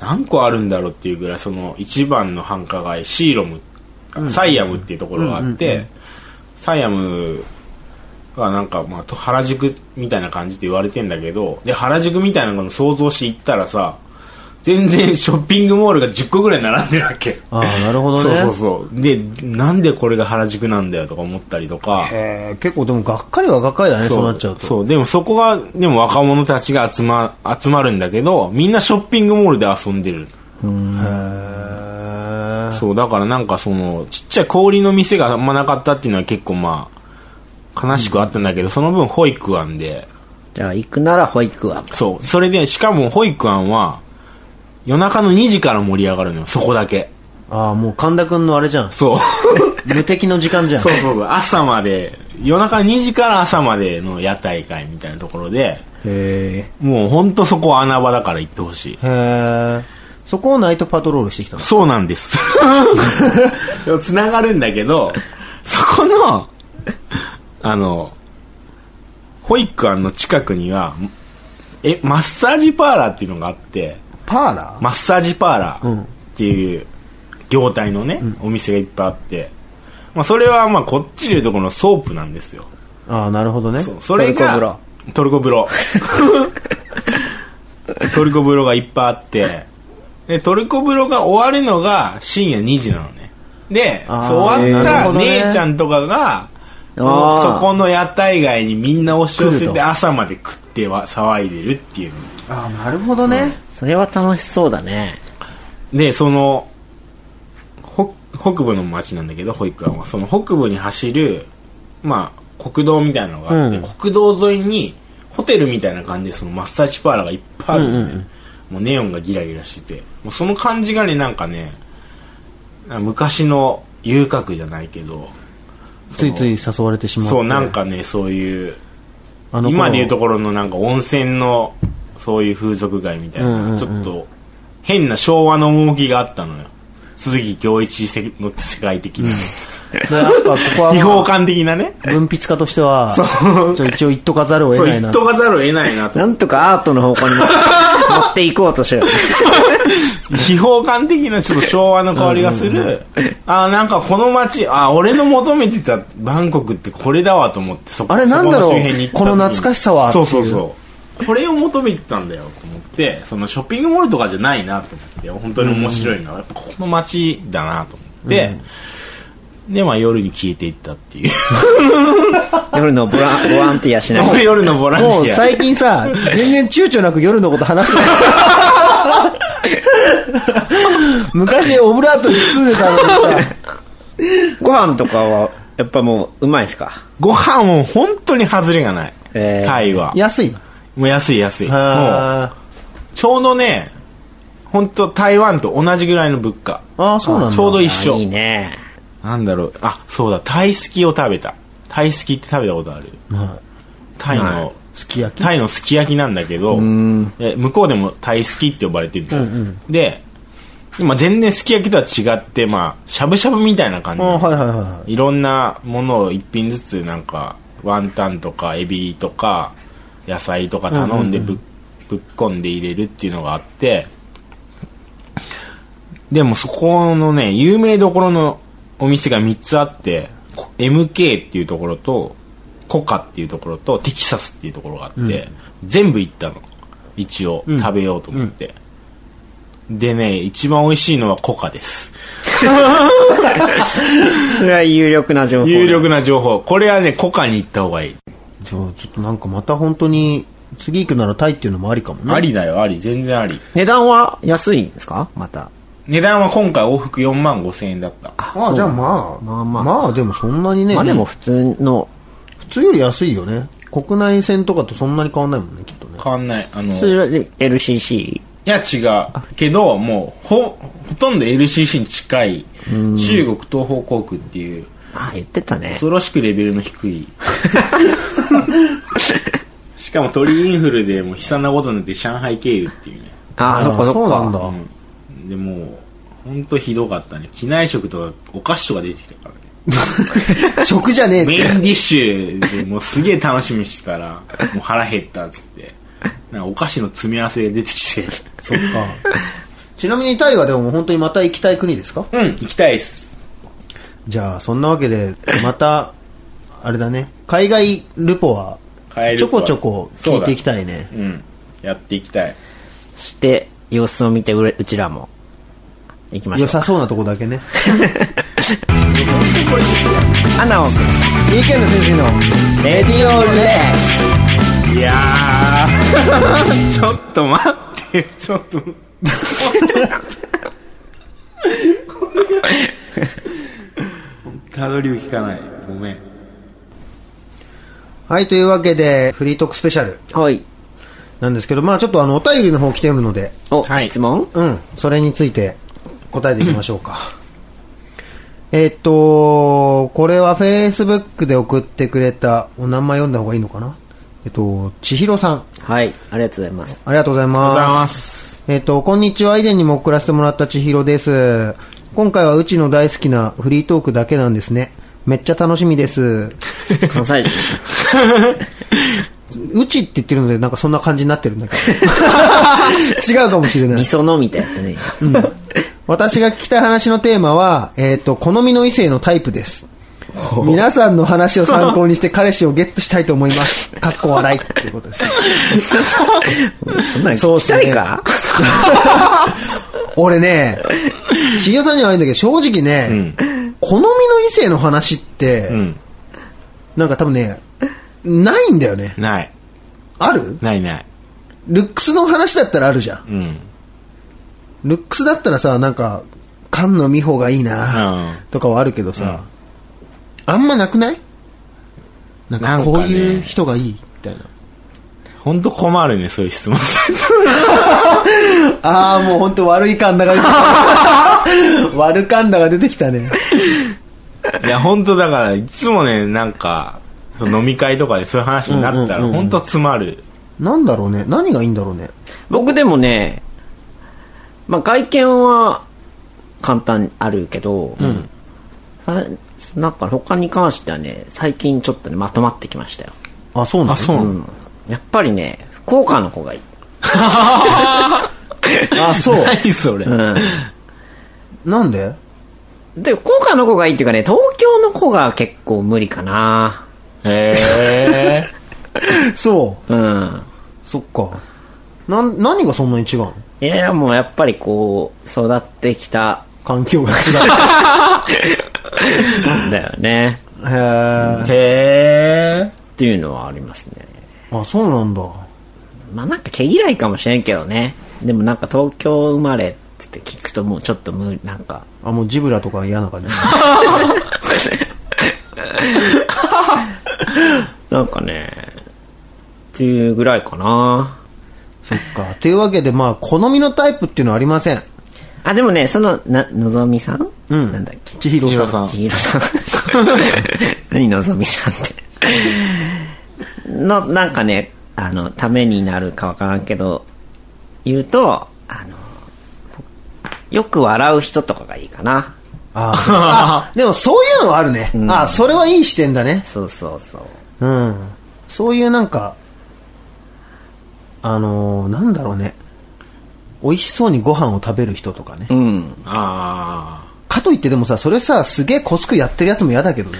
Speaker 2: 何個あるんだろうっていうぐらい、その一番の繁華街、シーロム、サイアムっていうところがあって、サイアムがなんか、まあと、原宿みたいな感じって言われてんだけど、で、原宿みたいなのを想像して行ったらさ、全然ショッピングモールが10個ぐらい並んでるわけ。
Speaker 1: ああ、なるほど
Speaker 2: そう
Speaker 1: ね。
Speaker 2: そうそう。で、なんでこれが原宿なんだよとか思ったりとか。
Speaker 1: へえ結構でも、がっかりはがっかりだね、そうなっちゃうと。
Speaker 2: そうでもそこがでも若者たちが集ま集まるんだけどみんなショッピングモールで遊んでる
Speaker 1: へえ
Speaker 2: そうだからなんかそのちっちゃい氷の店があんまなかったっていうのは結構まあ悲しくあったんだけど、その分保育園で
Speaker 3: じゃあ行くなら保育は。
Speaker 2: そうそれでしかも保育園は夜中の2時から盛り上がるのよそこだけ
Speaker 1: ああ、もう神田くんのあれじゃん。 (laughs)
Speaker 2: そう
Speaker 1: 無敵の時間じゃん。
Speaker 2: そうそうそう朝まで夜中2時から朝までの屋台会みたいなところで
Speaker 3: へ
Speaker 2: もうほんとそこは穴場だから行ってほしい
Speaker 1: へえそこをナイトパトロールしてきたの。
Speaker 2: そうなん (laughs) です。つながるんだけど、そこの、あの、保育園の近くには、え、マッサージパーラーっていうのがあって、
Speaker 1: パーラー
Speaker 2: マッサージパーラーっていう業態のね、お店がいっぱいあって、まあそれはまあこっちでいうとこのソープなんですよ。
Speaker 1: ああ、なるほどね。
Speaker 2: そうそれがトルコ風呂
Speaker 1: (laughs)
Speaker 2: トルコ風呂がいっぱいあってでトルコ風呂が終わるのが深夜2時なのねで
Speaker 1: あー
Speaker 2: そう終わ
Speaker 1: な
Speaker 2: っ
Speaker 1: る
Speaker 2: た
Speaker 1: ほどね
Speaker 2: 姉ちゃんとかが、
Speaker 3: あー
Speaker 2: そこの屋台街にみんな押し寄せ
Speaker 1: 来る
Speaker 2: て
Speaker 1: と
Speaker 2: 朝まで食っては騒いでるっていう
Speaker 1: ああ、なるほどね。
Speaker 3: それは楽しそうだね。
Speaker 2: でそのほ北部の町なんだけど保育園はその北部に走るまあ国道みたいなのがあって、
Speaker 1: うん
Speaker 2: 国道沿いにホテルみたいな感じでそのマッサージパーラーがいっぱいあるんだよね、もうネオンがギラギラしててもうその感じがねなんかね昔の遊郭じゃないけど
Speaker 1: ついつい誘われてしまって。
Speaker 2: そうなん、かねそういう
Speaker 1: あの頃
Speaker 2: 今でいうところのなんか温泉のそういう風俗街みたいな、
Speaker 1: うんうんうん
Speaker 2: ちょっと変な昭和の趣があったのよ鈴木恭一の世界的な、
Speaker 1: でやっぱここは、
Speaker 2: 違法感的
Speaker 1: (laughs)
Speaker 2: なね
Speaker 1: 文筆家としては、ちょ一応言っとかざるを
Speaker 2: そ
Speaker 1: 得ない
Speaker 2: う言
Speaker 1: な
Speaker 2: っ。とかざるを得ないなと
Speaker 3: なんとかアートの方向
Speaker 2: (laughs)
Speaker 3: にも持っていこうとしよう。
Speaker 2: 秘宝感的なちょっと昭和の香りがするあーなんかこの街あー俺の求めてたバンコクってこれだわと思ってそ
Speaker 1: あれなんだろう
Speaker 2: そこの周辺に行った時に
Speaker 1: この懐かしさはって
Speaker 2: そ
Speaker 1: いうう
Speaker 2: そうそうこれを求めてたんだよと思ってそのショッピングモールとかじゃないなと思って本当に面白いな、やっぱここの街だなと思って、でまあ夜に消えていったっていう
Speaker 3: 夜のボラボランティアしなが
Speaker 2: (laughs)
Speaker 3: ら。
Speaker 2: 夜のボランティア
Speaker 1: もう最近さ、全然躊躇なく夜のこと話
Speaker 2: (laughs)
Speaker 1: す。昔オブラートに包んでたのにさ、
Speaker 3: ご飯とかは、やっぱもう、うまいですか
Speaker 2: ご飯も本当に外れがない、
Speaker 3: えー
Speaker 2: タイは
Speaker 1: 安いの。
Speaker 2: もう安い安いもう
Speaker 1: あ
Speaker 2: ちょうどね、本当台湾と同じぐらいの物価。
Speaker 1: あー、そうなんだ。
Speaker 2: ちょうど一緒
Speaker 3: あいいね。
Speaker 2: なんだろう、あ、そうだ、タイスキを食べた。タイスキって食べたことある
Speaker 1: はい
Speaker 2: タイの、
Speaker 3: ない
Speaker 1: すき焼き
Speaker 2: タイのすき焼きなんだけど、え向こうでもタイすきって呼ばれてるんだよ、で、今全然すき焼きとは違って、まあ、しゃぶしゃぶみたいな感じ
Speaker 1: あ
Speaker 2: なの。
Speaker 1: はいはいはい
Speaker 2: ろんなものを一品ずつなんかワンタンとかエビとか野菜とか頼んでぶ,、ぶっ込んで入れるっていうのがあってでもそこのね有名どころのお店が3つあってこ MK っていうところとコカっていうところとテキサスっていうところがあって、全部行ったの一応食べようと思って、でね一番美味しいのはコカです
Speaker 3: それは有力な情報。
Speaker 2: 有力な情報これはねコカに行った方がいい
Speaker 1: じゃあちょっとなんかまた本当に次行くならタイっていうのもありかもね
Speaker 2: ありだよあり全然あり
Speaker 3: 値段は安いんですかまた。
Speaker 2: 値段は今回往復4万5千円だった
Speaker 1: ああじゃあまあ
Speaker 3: ま
Speaker 1: ま
Speaker 3: あ
Speaker 1: あ
Speaker 3: ま
Speaker 1: ま
Speaker 3: あ
Speaker 1: あでもそんなにね、
Speaker 3: まあでも普通の、
Speaker 1: 普通より安いよね国内線とかとそんなに変わんないもんねきっとね
Speaker 2: 変わんないあの
Speaker 3: 普通で LCC。
Speaker 2: いや違うけどもうほほとんど LCC に近い中国東方航空っていう
Speaker 3: あ、言ってたね。
Speaker 2: 恐ろしくレベルの
Speaker 1: (laughs)
Speaker 2: 低いしかも鳥インフルでもう悲惨なことになって上海経由っていうね
Speaker 3: ああ、そっかそっか。
Speaker 1: そうなんだ、
Speaker 2: うんでもうほんとひどかったね機内食とかお菓子とか出てきたからね
Speaker 1: 食じゃねえっ
Speaker 2: メイ
Speaker 1: て
Speaker 2: ンディッシュでもうすげえ楽しみにしてたら (laughs) もう腹減ったっつってなんかお菓子の詰め合わせが出てき (laughs) て
Speaker 1: そっかちなみにタイはでも本当にまた行きたい国ですか
Speaker 2: うん行きたいっす
Speaker 1: じゃあそんなわけでまたあれだね海外ルポは
Speaker 2: 海外
Speaker 1: ち
Speaker 2: ル
Speaker 1: ょ
Speaker 2: ポ
Speaker 1: こ
Speaker 2: は
Speaker 1: ちょこ聞いていきたいね
Speaker 2: うんやっていきたい
Speaker 3: そして、様子を見てうれうちらも、行きましょ
Speaker 1: 良
Speaker 3: う。
Speaker 1: さそうなとこだけね
Speaker 3: アナオ君。
Speaker 1: BK の先生の
Speaker 3: レディオレース。
Speaker 2: いやーちょっと待って (laughs) (laughs) ちょっともうちょっと待ってたどりを聞かないごめん
Speaker 1: はいというわけでフリートークスペシャル
Speaker 3: はい。
Speaker 1: なんですけどまあちょっとあのお便りの方来てるので
Speaker 3: お、
Speaker 2: はい
Speaker 3: 質問
Speaker 1: うん、それについて答えていきましょうか。
Speaker 3: (laughs)
Speaker 1: えっと、これは Facebook で送ってくれた、お名前読んだ方がいいのかなえっと、千尋さん、
Speaker 3: はい。ありがとうございます。
Speaker 1: ありがとうございます。
Speaker 2: ありがとうございます
Speaker 1: えっと、こんにちは。以前にも送らせてもらった千尋です。今回はうちの大好きなフリートークだけなんですね。めっちゃ楽しみです。
Speaker 3: 関西人。
Speaker 1: うちって言ってるので、なんかそんな感じになってるんだけ
Speaker 2: (laughs)
Speaker 1: ど。違うかもしれない
Speaker 3: み。そのみたいなね。
Speaker 1: 私が聞きたい話のテーマは、えっ、と、好みの異性のタイプです。皆さんの話を参考にして彼氏をゲットしたいと思います。かっこ笑いっていうことです。
Speaker 3: そんなの
Speaker 1: そう
Speaker 3: 聞
Speaker 1: っ
Speaker 3: き
Speaker 1: す
Speaker 3: た
Speaker 1: ね
Speaker 3: いか
Speaker 1: 俺ね、しげさんには悪いんだけど、正直ね、好みの異性の話って、
Speaker 2: うん
Speaker 1: なんか多分ね、ないんだよね。
Speaker 2: ない
Speaker 1: ある
Speaker 2: ないない
Speaker 1: ルックスの話だったらあるじゃん。
Speaker 2: (laughs) うん
Speaker 1: ルックスだったらさ、なんか、菅野美穂がいいな、
Speaker 2: うん
Speaker 1: とかはあるけどさ、あんまなくないなんかこういう人がいいみたいな。
Speaker 2: ほんと困るねそういう質問
Speaker 1: ああ、もう本当悪いカンダが出てき (laughs) た。悪カンダが出てきたね。
Speaker 2: いやほんとだからいつもねなんか飲み会とかでそういう話になった
Speaker 1: うんう
Speaker 2: ら
Speaker 1: んうんうん
Speaker 2: ほんと詰まる
Speaker 1: なんだろうね。何がいいんだろうね。
Speaker 3: 僕でもね、まあ外見は簡単にあるけど、あなんか他に関してはね、最近ちょっとね、まとまってきましたよ。
Speaker 1: あ、そうなんだ
Speaker 2: うな
Speaker 3: うん。やっぱりね、福岡の子がいい。
Speaker 1: あ、そう。
Speaker 2: 何それ
Speaker 1: なんで
Speaker 3: で、福岡の子がいいっていうかね、東京の子が結構無理かな。
Speaker 2: へえ
Speaker 1: そう。
Speaker 3: うん。
Speaker 1: そっか。なん、何がそんなに違うの
Speaker 3: いや、もうやっぱりこう、育ってきた
Speaker 1: 環境が違
Speaker 3: んだよね。
Speaker 1: う。へえ。
Speaker 2: へえ
Speaker 3: っていうのはありますね。
Speaker 1: あ、そうなんだ。
Speaker 3: まあなんか毛嫌いかもしれんけどね。でもなんか東京生まれって聞くともうちょっと無理、なんか。
Speaker 1: あ、もうジブラとか嫌な (laughs) 感じ。
Speaker 3: なんかね、っていうぐらいかな。
Speaker 1: そっか。というわけで、まあ、好みのタイプっていうのはありません。
Speaker 3: あ、でもね、その、な、のぞみさん
Speaker 1: うん
Speaker 3: なんだっけ
Speaker 1: 千尋
Speaker 2: 千尋
Speaker 1: さ
Speaker 2: さ
Speaker 1: ん。
Speaker 2: ん
Speaker 3: ちひろさん。
Speaker 1: (laughs)
Speaker 3: 何のぞみさんって。の、なんかね、あの、ためになるかわからんけど、言うと、あの、よく笑う人とかがいいかな。
Speaker 1: あー (laughs) あ、でもそういうのはあるね。あ、それはいい視点だね。
Speaker 3: そうそうそう。
Speaker 1: うん。そういうなんか、あのーなんだろうね。美味しそうにご飯を食べる人とかね。
Speaker 3: うん。
Speaker 2: あ
Speaker 1: かといってでもさ、それさ、すげえコスクやってるやつも嫌だけどね。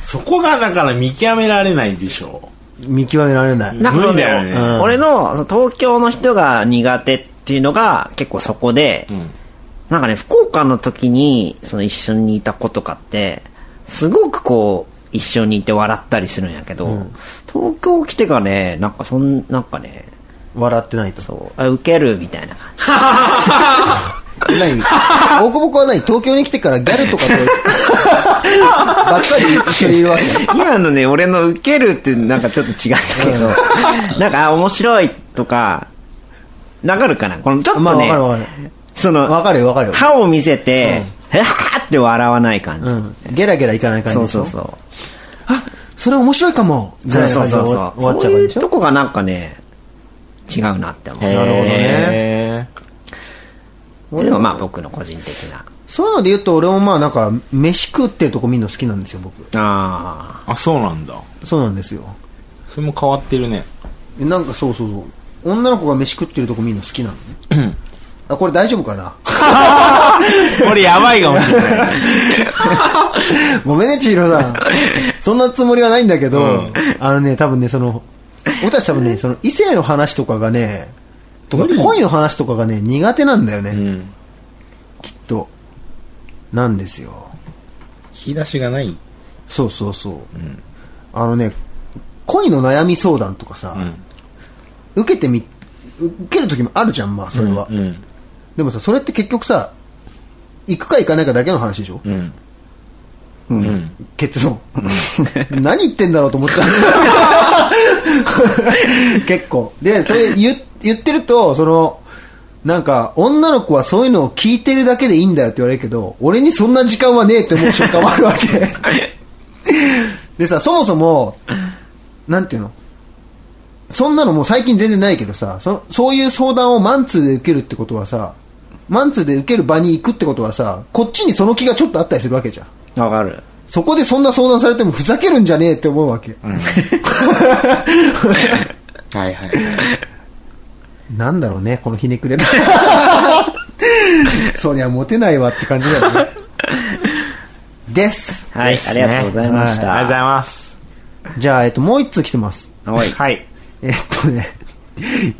Speaker 2: そこがだから見極められないでしょ
Speaker 1: 見極められない。
Speaker 3: なんかそ
Speaker 2: 無理だ
Speaker 3: の、
Speaker 2: よね
Speaker 1: うん
Speaker 3: 俺のその東京の人が苦手っていうのが結構そこで、
Speaker 2: ん
Speaker 3: なんかね、福岡の時にその一緒にいた子とかって、すごくこう、一緒にいて笑ったりするんやけど、東京来てがね、なんかそん、なんかね、
Speaker 1: 笑ってないと。
Speaker 3: そう、あ、ウケるみたいな感じ。
Speaker 1: 何大久保君は何東京に来てからギャルとかと
Speaker 3: (laughs)
Speaker 1: ばっかり一緒にいるわけ
Speaker 3: 今のね、俺のウケるってなんかちょっと違ったけど、 (laughs) なんか、あ、面白いとか、わかるかなこのちょっとね、
Speaker 1: まあわかるわかる
Speaker 3: その、
Speaker 1: わかるよわかるよ
Speaker 3: 歯を見せて、へはーって笑わない感じ。
Speaker 1: うんゲラゲラいかない感じ
Speaker 3: そう
Speaker 1: でし
Speaker 3: そ
Speaker 1: ょ
Speaker 3: うそう。
Speaker 1: それ面白いかもぐ
Speaker 3: そ
Speaker 1: ら
Speaker 3: う
Speaker 1: いの感
Speaker 3: そう
Speaker 1: じ
Speaker 3: そ
Speaker 1: で
Speaker 3: う
Speaker 1: 終
Speaker 3: そ
Speaker 1: わ
Speaker 3: う。
Speaker 1: 終わっち
Speaker 3: そ
Speaker 1: ゃう感
Speaker 3: うい
Speaker 1: じ
Speaker 3: う
Speaker 1: でしょ
Speaker 3: とこがなんかね、違うなって思
Speaker 1: な
Speaker 3: う。
Speaker 1: るほど
Speaker 2: う。
Speaker 1: ね
Speaker 2: へ
Speaker 3: っていうのがまあ僕の個人的な。
Speaker 1: そういうので言うと俺もまあなんか飯食ってるとこ見るの好きなんですよ僕
Speaker 3: あ
Speaker 2: ーあ、そうなんだ。
Speaker 1: そうなんですよ
Speaker 2: それも変わってるね。
Speaker 1: えなんかそうそうそう女の子が飯食ってるとこ見るの好きなのねあこれ大丈夫かな (laughs)
Speaker 2: これやばいかもしれない。
Speaker 1: ごめんね千尋
Speaker 2: (laughs)
Speaker 1: さんそんなつもりはないんだけど、あのね多分ねその俺たち多分ねその異性の話とかがねとか恋の話とかがね苦手なんだよね、
Speaker 2: うん。
Speaker 1: きっとなんですよ
Speaker 2: 引き出しがない。
Speaker 1: そうそうそう、あのね恋の悩み相談とかさ、
Speaker 2: ん
Speaker 1: 受けてみ受ける時もあるじゃんまあそれは、
Speaker 2: うん。
Speaker 1: でもさそれって結局さ行くか行かないかだけの話でしょ、
Speaker 2: うん。うん。
Speaker 1: 結論 (laughs) 何言ってんだろうと思っちゃう結構でそれ言言ってるとそのなんか女の子はそういうのを聞いてるだけでいいんだよって言われるけど俺にそんな時間はねえって思う瞬間もあるわけ (laughs) でさそもそもなんていうのそんなのもう最近全然ないけどさそそういう相談をマンツーで受けるってことはさマンツーで受ける場に行くってことはさこっちにその気がちょっとあったりするわけじゃん
Speaker 3: あ。わかる。
Speaker 1: そこでそんな相談されてもふざけるんじゃねえって思うわけ。 (laughs)
Speaker 2: はいはい。
Speaker 1: なんだろうね、この (laughs) ひねくれ。そりゃモテないわって感じだよね。です。
Speaker 3: はい、
Speaker 2: です
Speaker 3: あり
Speaker 2: ね
Speaker 3: がとうございまし
Speaker 2: ありがとうござ
Speaker 3: た。
Speaker 2: います。
Speaker 1: じゃあ、えっと、もう一通来てます。
Speaker 3: はい。
Speaker 2: はい。
Speaker 1: えっとね、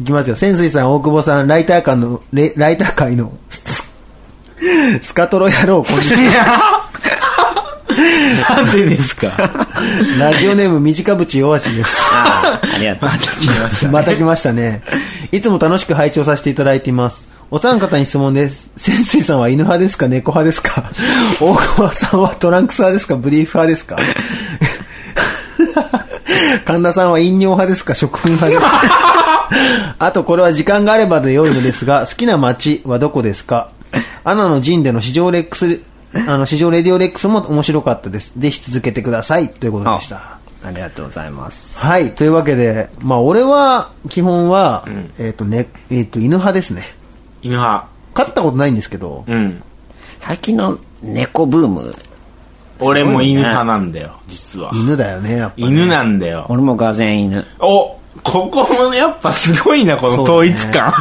Speaker 1: いきますよ。潜水さん、大久保さん、ライター間の、レライター界の、ススカトロ野郎、こんにちは。
Speaker 2: (laughs) なぜですか
Speaker 1: ラジオネーム、短渕弱しです。
Speaker 3: あーあり
Speaker 1: (laughs)
Speaker 3: がとう。
Speaker 1: また来ましたね。いつも楽しく拝聴させていただいています。お三方に質問です。潜水さんは犬派ですか猫派ですか大川さんはトランクス派ですかブリーフ派ですか神田さんは飲料派ですか食粉派ですかあとこれは時間があればで良いのですが、好きな街はどこですかアナの陣での市場レックス、あの、市場レディオレックスも面白かったです。ぜひ続けてください。ということでした。
Speaker 3: ありがとうございます。
Speaker 1: はい、というわけで、まあ、俺は、基本は、えっ、とね、えっ、と、犬派ですね。
Speaker 2: 犬派。
Speaker 1: 飼ったことないんですけど、
Speaker 2: うん。
Speaker 3: 最近の猫ブーム、
Speaker 2: 俺も犬派なんだよ、実は。
Speaker 1: 犬だよね、やっぱね、
Speaker 2: 犬なんだよ。
Speaker 3: 俺もがぜん犬。
Speaker 2: おここもやっぱすごいな、この統一
Speaker 3: (laughs)
Speaker 2: 感。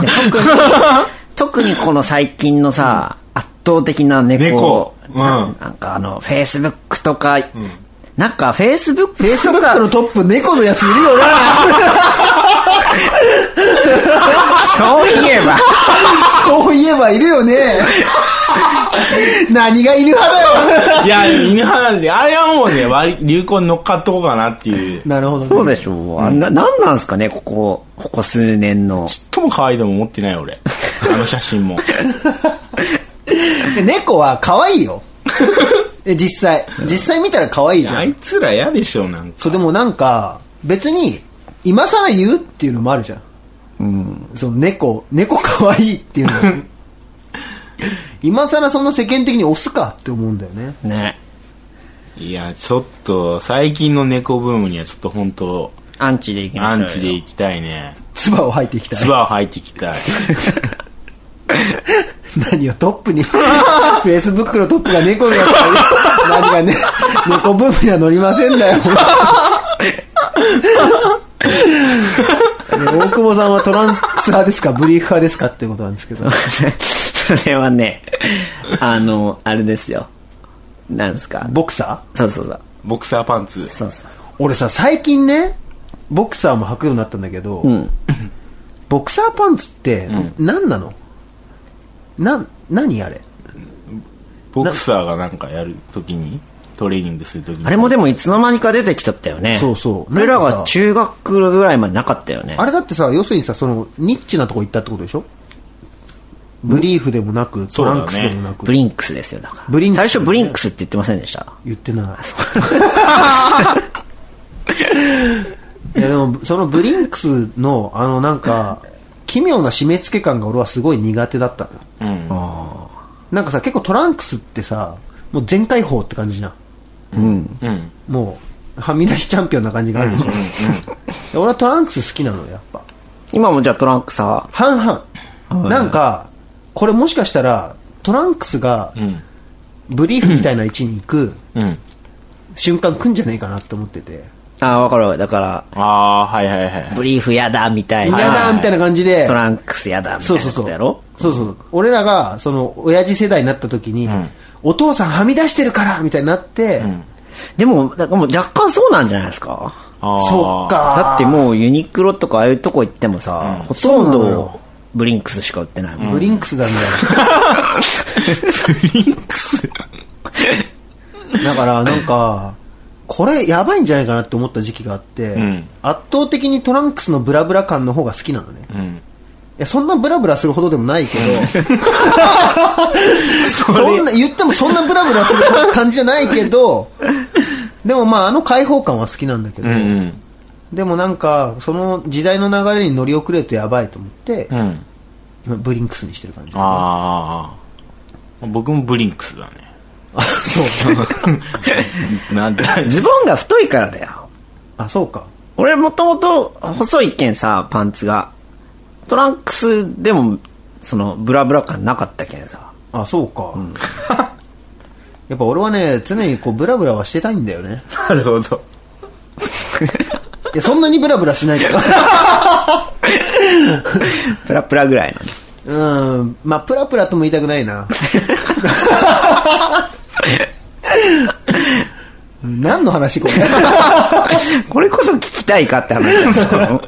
Speaker 3: 特にこの最近のさ、圧倒的な
Speaker 2: 猫
Speaker 3: 猫
Speaker 2: うん
Speaker 3: ななんかあのフェイスブックとか、なんかフェイスブッ
Speaker 1: フ
Speaker 3: ク
Speaker 1: ェイスブックのトップ、猫のやついるよな
Speaker 3: (laughs) そういえば
Speaker 1: そういえばいる
Speaker 3: (laughs)
Speaker 1: よね何が犬派だよ
Speaker 2: いや、犬派なんで、あれはもうね、割り流行に乗っかっとこうかなっていう。
Speaker 1: なるほど、ね。
Speaker 3: そうでしょう、あんななんなんすかねここここ数年の
Speaker 2: ちっとも可愛いとも思ってない、
Speaker 3: (laughs)
Speaker 2: 俺。あの写真も。
Speaker 1: 猫は可愛いよ。
Speaker 3: (laughs)
Speaker 1: え実際。実際見たら可愛いじゃ
Speaker 2: あ
Speaker 1: ん。
Speaker 2: いつら嫌でしょ、なんか。
Speaker 1: そう、でもなんか、別に、今更言うっていうのもあるじゃん。その猫、猫可愛い (laughs) っていうの。今更そんな世間的に押すかって思うんだよね。
Speaker 3: ね
Speaker 2: いや、ちょっと、最近の猫ブームにはちょっと本当
Speaker 3: アンチでいきまし
Speaker 2: ア
Speaker 3: ょうよ
Speaker 2: ンチで行きたいね。
Speaker 1: 唾を吐いていきたい。
Speaker 2: 唾を吐いていき
Speaker 3: (laughs)
Speaker 2: たい。
Speaker 1: 何をトップに。Facebook のトップが猫のやつだよ何がね、猫ブームには乗りません (laughs) だよ。ね大久保さんはトランス派ですかブリーフ派ですかってことなんですけど。
Speaker 3: (laughs) それはね、あの、あれですよ。なんですか。
Speaker 1: ボクサー
Speaker 3: そうそうそう。
Speaker 2: ボクサーパンツ。
Speaker 3: そうそう。
Speaker 1: 俺さ、最近ね、ボクサーも履くようになったんだけど、
Speaker 3: うん。
Speaker 1: ボクサーパンツって、何なのなん、何あれ
Speaker 2: ボクサーがなんかやるときに、トレーニングするときに。
Speaker 3: あれもでもいつの間にか出てきちゃったよね。
Speaker 1: そうそう
Speaker 3: 俺ら
Speaker 1: なん
Speaker 3: が
Speaker 1: かさ
Speaker 3: 中学ぐらいまでなかったよね。
Speaker 1: あれだってさ、要するにさ、その、ニッチなとこ行ったってことでしょブリーフでもなく、トランクスでもなく、
Speaker 3: ブリンクスですよ、だから。
Speaker 1: ブリンクス
Speaker 3: 最初ブリンクスって言ってませんでした。
Speaker 1: 言って (laughs) ない。いやでも、そのブリンクスの、あのなんか、奇妙な締め付け感が俺はすごい苦手だったのよ。
Speaker 2: うん。
Speaker 1: なんかさ、結構トランクスってさ、もう全開放って感じじゃん。
Speaker 2: うん。
Speaker 1: もう、はみ出しチャンピオンな感じがあるでしょ。で俺はトランクス好きなのよ、やっぱ。
Speaker 3: 今もじゃあトランクさ、
Speaker 1: 半々。なんか、これもしかしたら、トランクスが
Speaker 2: うん。
Speaker 1: ブリーフみたいな位置に行く
Speaker 2: うん。
Speaker 1: 瞬間来んじゃねえかなって思ってて。
Speaker 3: あー、わかるわ。だから、
Speaker 2: ああー、はいはいはい。
Speaker 3: ブリーフやだ、みたい
Speaker 1: 嫌
Speaker 3: な。
Speaker 1: だみたいな感じで
Speaker 3: ト、ランクスやだ、みた
Speaker 1: そ
Speaker 3: いうな
Speaker 1: そう
Speaker 3: こ
Speaker 1: そう。
Speaker 3: とやろ
Speaker 1: そうそう。俺らが、その、親父世代になった時に、お父さんはみ出してるからみたいになって、
Speaker 3: でも、だからもう若干そうなんじゃないですか。
Speaker 2: あー
Speaker 1: そっ。か。
Speaker 3: だってもうユニクロとかああいうとこ行ってもさ、ほとん
Speaker 1: そうなの
Speaker 3: ど
Speaker 1: よ
Speaker 3: ブリンクスしか売ってないもん。
Speaker 1: ブリンクスだみたいな。ブリンクスだからなんか、これやばいんじゃないかなって思った時期があって、
Speaker 2: ん
Speaker 1: 圧倒的にトランクスのブラブラ感の方が好きなのね。い
Speaker 2: うん。
Speaker 1: や、そんなブラブラするほどでもないけ (laughs) ど、そんな、言ってもそんなブラブラする感じじゃないけど、でもまああの開放感は好きなんだけど、
Speaker 2: うんうん。
Speaker 1: でもなんか、その時代の流れに乗り遅れるとやばいと思って、
Speaker 2: うん。
Speaker 1: 今ブリンクスにしてる感じ。
Speaker 2: ああ。僕もブリンクスだね。
Speaker 1: あ、そう。
Speaker 2: なんだ
Speaker 3: ズボンが太いからだよ。
Speaker 1: あ、そうか。
Speaker 3: 俺もともと細いけんさ、パンツが。トランクスでも、その、ブラブラ感なかったけんさ。
Speaker 1: あそうか、 (laughs) やっぱ俺はね常にこうブラブラはしてたいんだよね
Speaker 2: なるほど。
Speaker 1: いやそんなにブラブラしないけど
Speaker 3: プラプラぐらいのね。
Speaker 1: うんまあプラプラとも言いたくない (laughs) な何の話こ
Speaker 3: これこそ聞きたいかって話だ
Speaker 2: (laughs)
Speaker 3: よ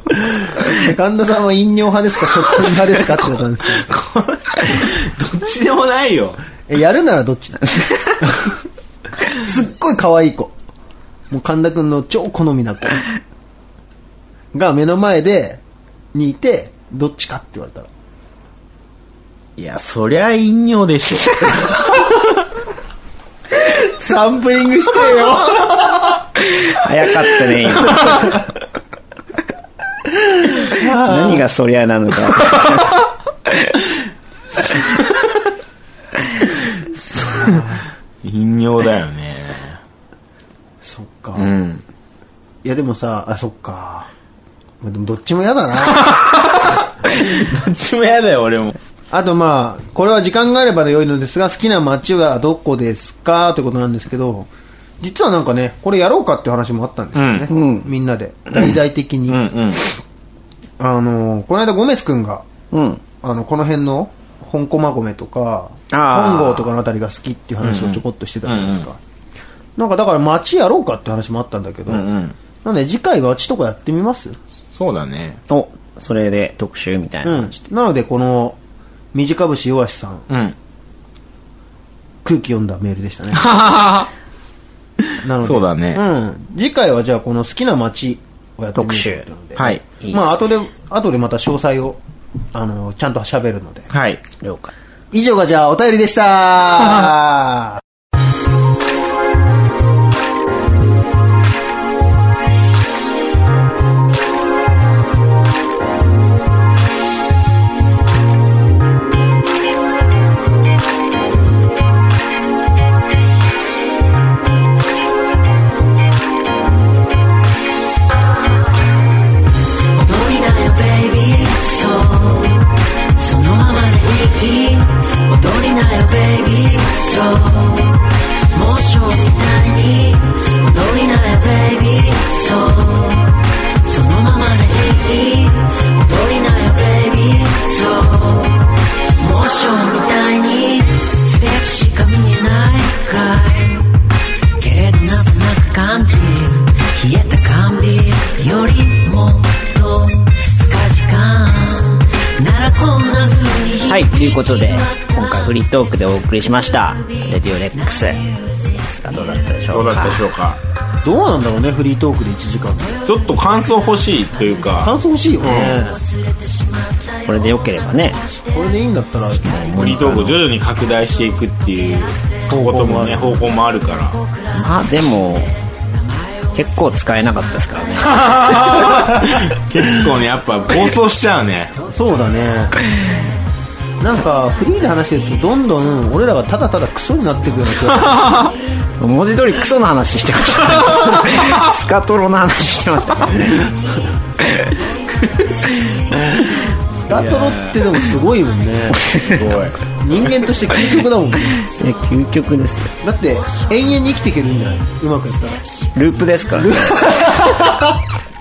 Speaker 1: れ (laughs) 神田さんは飲料派ですか食品派ですかってことなんですけ
Speaker 2: どっちでもないよ。
Speaker 1: どえやるならどっ (laughs) ちすっごい可愛い子もう神田君の超好みな子が目の前でにいてどっちかって言われたら
Speaker 2: いや、そりゃ飲料でしょ。
Speaker 1: サンプリングしてよ
Speaker 3: 早かった
Speaker 2: (laughs)
Speaker 3: ね、今。何がそりゃなのか。
Speaker 2: 飲料だよね。
Speaker 1: そっか、
Speaker 2: う
Speaker 1: い
Speaker 2: ん。
Speaker 1: やでもさあそっかまあでもどっちも嫌だな
Speaker 2: どっちもやだよ、俺も。
Speaker 1: (laughs) あとまあこれは時間があれば良いのですが好きな街はどこですかということなんですけど実はなんかねこれやろうかっていう話もあったんですよね、
Speaker 3: うん
Speaker 1: みんなで大々的に、
Speaker 2: うんうん。
Speaker 1: あのーこの間ゴメス君が
Speaker 3: うん。
Speaker 1: あのこの辺の本駒込とか
Speaker 3: あー
Speaker 1: 本郷とかのあたりが好きっていう話をちょこっとしてたじゃないですか、なんかだから街やろうかって話もあったんだけど、
Speaker 2: うんうん。
Speaker 1: なんで次回街とかやってみます
Speaker 2: そうだね。
Speaker 3: お、それで特集みたいな
Speaker 1: うん
Speaker 3: 感じで。、
Speaker 1: なのでこの短節弱しさん
Speaker 2: うん。
Speaker 1: 空気読んだメールでした
Speaker 2: (laughs)
Speaker 1: ねなので
Speaker 2: そうだね
Speaker 1: うん、次回はじゃあこの好きな街をやってみる
Speaker 3: 特集
Speaker 1: ってので
Speaker 2: はい。
Speaker 3: いいです
Speaker 1: まあ後で後でまた詳細をあのちゃんと喋るので
Speaker 2: はい。
Speaker 3: 了解。
Speaker 1: 以上がじゃあお便りでした
Speaker 5: 踊りなよベイビーそうそのままでいい踊りなよベイビーそう猛暑みたいに踊りなよベイビーそうそのままでいい踊りなよベイビーそう猛暑みたい
Speaker 3: はいということで今回フリートークでお送りしました「レディオレックス」ですがどうだったでしょ
Speaker 2: ど
Speaker 3: う
Speaker 2: うだ
Speaker 3: か
Speaker 2: ったでしょうか
Speaker 1: (laughs) どうなんだろうねフリートークで1時間って
Speaker 2: ちょっと感想欲しいというか
Speaker 1: 感想欲しいよね、
Speaker 3: これでよければね
Speaker 1: これでいいんだったら
Speaker 2: フリートークを徐々に拡大していくっていうこともね方向もあるから
Speaker 3: まあでも結構使えなかったですからね
Speaker 2: 結構ねやっぱ暴走しちゃうね
Speaker 1: そうだねなんかフリーで話してるとどんどん俺らがただただクソになっていくような気が
Speaker 3: 文字通りクソの話してました
Speaker 1: (laughs)
Speaker 3: スカトロの話してましたからね
Speaker 1: するスカトロってでもすごいもんね
Speaker 2: すごい
Speaker 1: 人間として究極だもんね
Speaker 3: いや究極ですよ
Speaker 1: だって永遠に生きていけるんじゃないうまくやったら
Speaker 3: ループですからね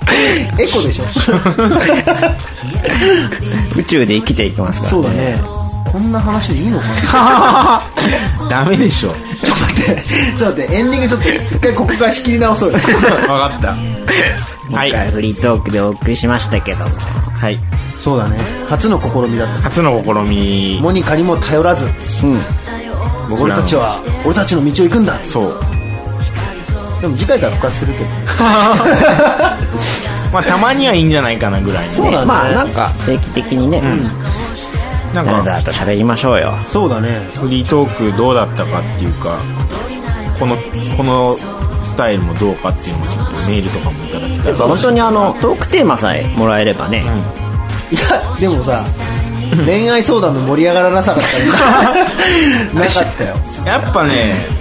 Speaker 1: エコでしょ
Speaker 3: 宇宙で生きていきますから
Speaker 1: そうだねこんな話でいいのかな
Speaker 2: ダメで (laughs) しょ
Speaker 1: ちょっと待って (laughs) ちょっと待ってエンディングちょっと一回ここから仕切り直そうよ
Speaker 2: 分かったは
Speaker 3: 今
Speaker 2: い
Speaker 3: 回フリートークでお送りしましたけども
Speaker 2: はい
Speaker 1: (laughs) そうだね初の試みだっ
Speaker 2: 初の試み
Speaker 1: たモニカにも頼らず
Speaker 3: うん
Speaker 2: 僕
Speaker 1: 俺
Speaker 2: らの
Speaker 1: たちは俺たちの道を行くんだ
Speaker 2: そう
Speaker 1: でも次回から復活するけど
Speaker 2: まあたまにはいいんじゃないかなぐらいの
Speaker 1: そうだね
Speaker 3: まあなんか定期的にね、
Speaker 2: なん
Speaker 3: ダラ
Speaker 2: か
Speaker 3: ダラと喋りましょうよ
Speaker 1: そうだね
Speaker 2: フリートークどうだったかっていうかこのこのスタイルもどうかっていうのもちょっとメールとかもいただきたい
Speaker 3: 本当にあのトークテーマさえもらえれば
Speaker 1: い
Speaker 3: ね、
Speaker 1: やでもさ恋愛相談の盛り上がらなさかったら (laughs) なかったよ
Speaker 2: やっぱね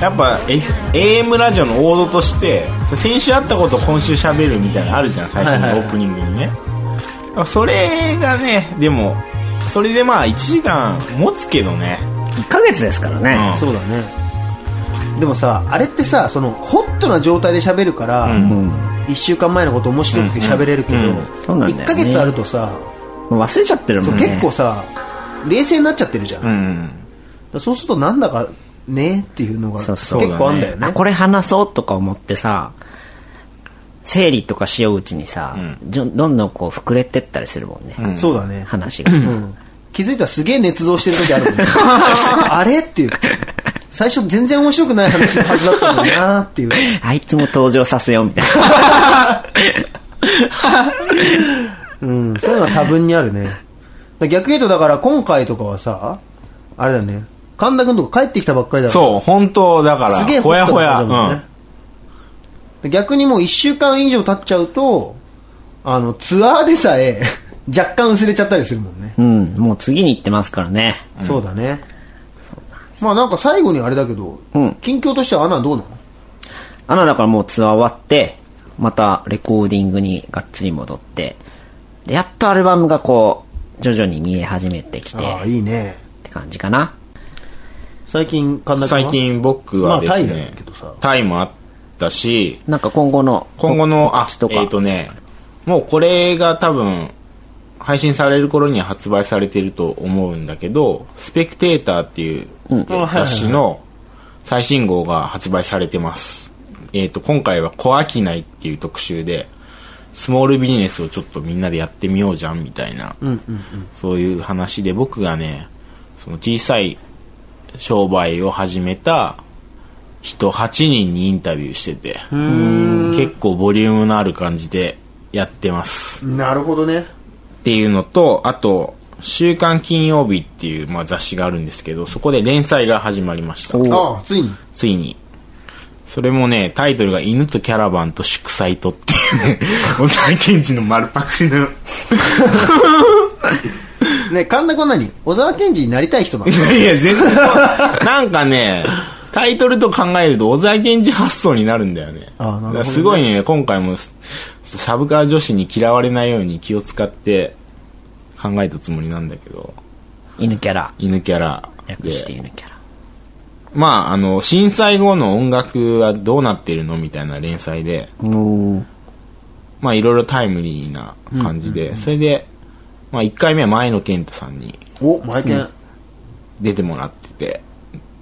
Speaker 2: やっぱ、F、AM ラジオの王道として先週あったことを今週喋るみたいなのあるじゃん最初
Speaker 1: はい
Speaker 2: の
Speaker 1: はい
Speaker 2: オ
Speaker 1: はい
Speaker 2: ープニングにね、それがねでもそれでまあ1時間持つけどね
Speaker 3: 1ヶ月ですからね、
Speaker 2: うん
Speaker 1: そうだねでもさあれってさそのホットな状態で喋るから、
Speaker 2: ん
Speaker 1: 1週間前のこと面白くて喋れるけど、
Speaker 2: うんうん
Speaker 3: そうなんだよね
Speaker 1: 1ヶ月あるとさ、
Speaker 3: もう忘れちゃってるも
Speaker 1: そうん
Speaker 3: ね
Speaker 1: 結構さ冷静になっちゃってるじゃん、だ
Speaker 2: う
Speaker 1: か
Speaker 2: ん
Speaker 1: らそうするとなんだかねっていうのが
Speaker 3: そう
Speaker 1: 結
Speaker 3: そう
Speaker 1: 構あんだよね
Speaker 3: あこれ話そうとか思ってさ整理とかしよううちにさ、じょどんどんこう膨れてったりするもんね、
Speaker 1: そうだね
Speaker 3: 話が、
Speaker 1: うん気づいたらすげえ捏造してる時あるもんね (laughs) あれっていう最初全然面白くない話のはずだったのになーっていう
Speaker 3: (laughs) あいつも登場させようみたいな
Speaker 1: うん、そういうのは多分にあるね。逆に言うと、だから今回とかはさ、あれだよね、神田君とか帰ってきたばっかりだから、
Speaker 2: そう本当だから
Speaker 1: すげえ
Speaker 2: ほやほや、
Speaker 1: ホットな感じだもんねで逆にもう1週間以上経っちゃうと、あの、ツアーでさえ (laughs) 若干薄れちゃったりするもんね。
Speaker 3: うんもう次に行ってますからね
Speaker 1: そうだね。まあなんか最後にあれだけど、
Speaker 3: うん
Speaker 1: 近況としてはアナどうなの
Speaker 3: アナだからもうツアー終わってまたレコーディングにがっつり戻ってでやっとアルバムがこう徐々に見え始めてきて
Speaker 1: ああ、
Speaker 3: っ
Speaker 1: いいね。
Speaker 3: て感じかな
Speaker 1: 最近神田君は
Speaker 2: 最近僕はです
Speaker 1: まあタイ
Speaker 2: ね
Speaker 1: だけどさ、
Speaker 2: タイもあったし
Speaker 3: なんか今後の
Speaker 2: 今後のあ
Speaker 3: 告知とか
Speaker 2: えっ、とねもうこれが多分配信される頃には発売されてると思うんだけど「スペクテーター」っていう雑誌の最新号が発売されてます、えっ、と今回は「小商い」っていう特集でスモールビジネスをちょっとみんなでやってみようじゃんみたいな、そういう話で僕がねその小さい商売を始めた人8人にインタビューしてて結構ボリュームのある感じでやってます
Speaker 1: なるほどね。
Speaker 2: っていうのとあと「週刊金曜日」っていう、まあ、雑誌があるんですけどそこで連載が始まりました
Speaker 1: ああ、ついに。
Speaker 2: ついにそれもねタイトルが「犬とキャラバンと祝祭と」っていうね小沢健二の丸パクリの
Speaker 1: ね、神田君は何小沢健二になりたい人なの
Speaker 2: いやいや全然そうなんかねタイトルと考えると小沢健二発想になるんだよね
Speaker 1: あなるほどね
Speaker 2: だからすごいね今回もすサブカル女子に嫌われないように気を使って考えたつもりなんだけど
Speaker 3: 犬キャラ
Speaker 2: 犬キャラ
Speaker 3: 略して
Speaker 2: で
Speaker 3: 犬キャラ
Speaker 2: まああの震災後の音楽はどうなってるのみたいな連載で
Speaker 3: おー
Speaker 2: まあいろいろタイムリーな感じで、それで、まあ1回目は前野健太さんに
Speaker 1: お、マイケン。
Speaker 2: 出てもらってて、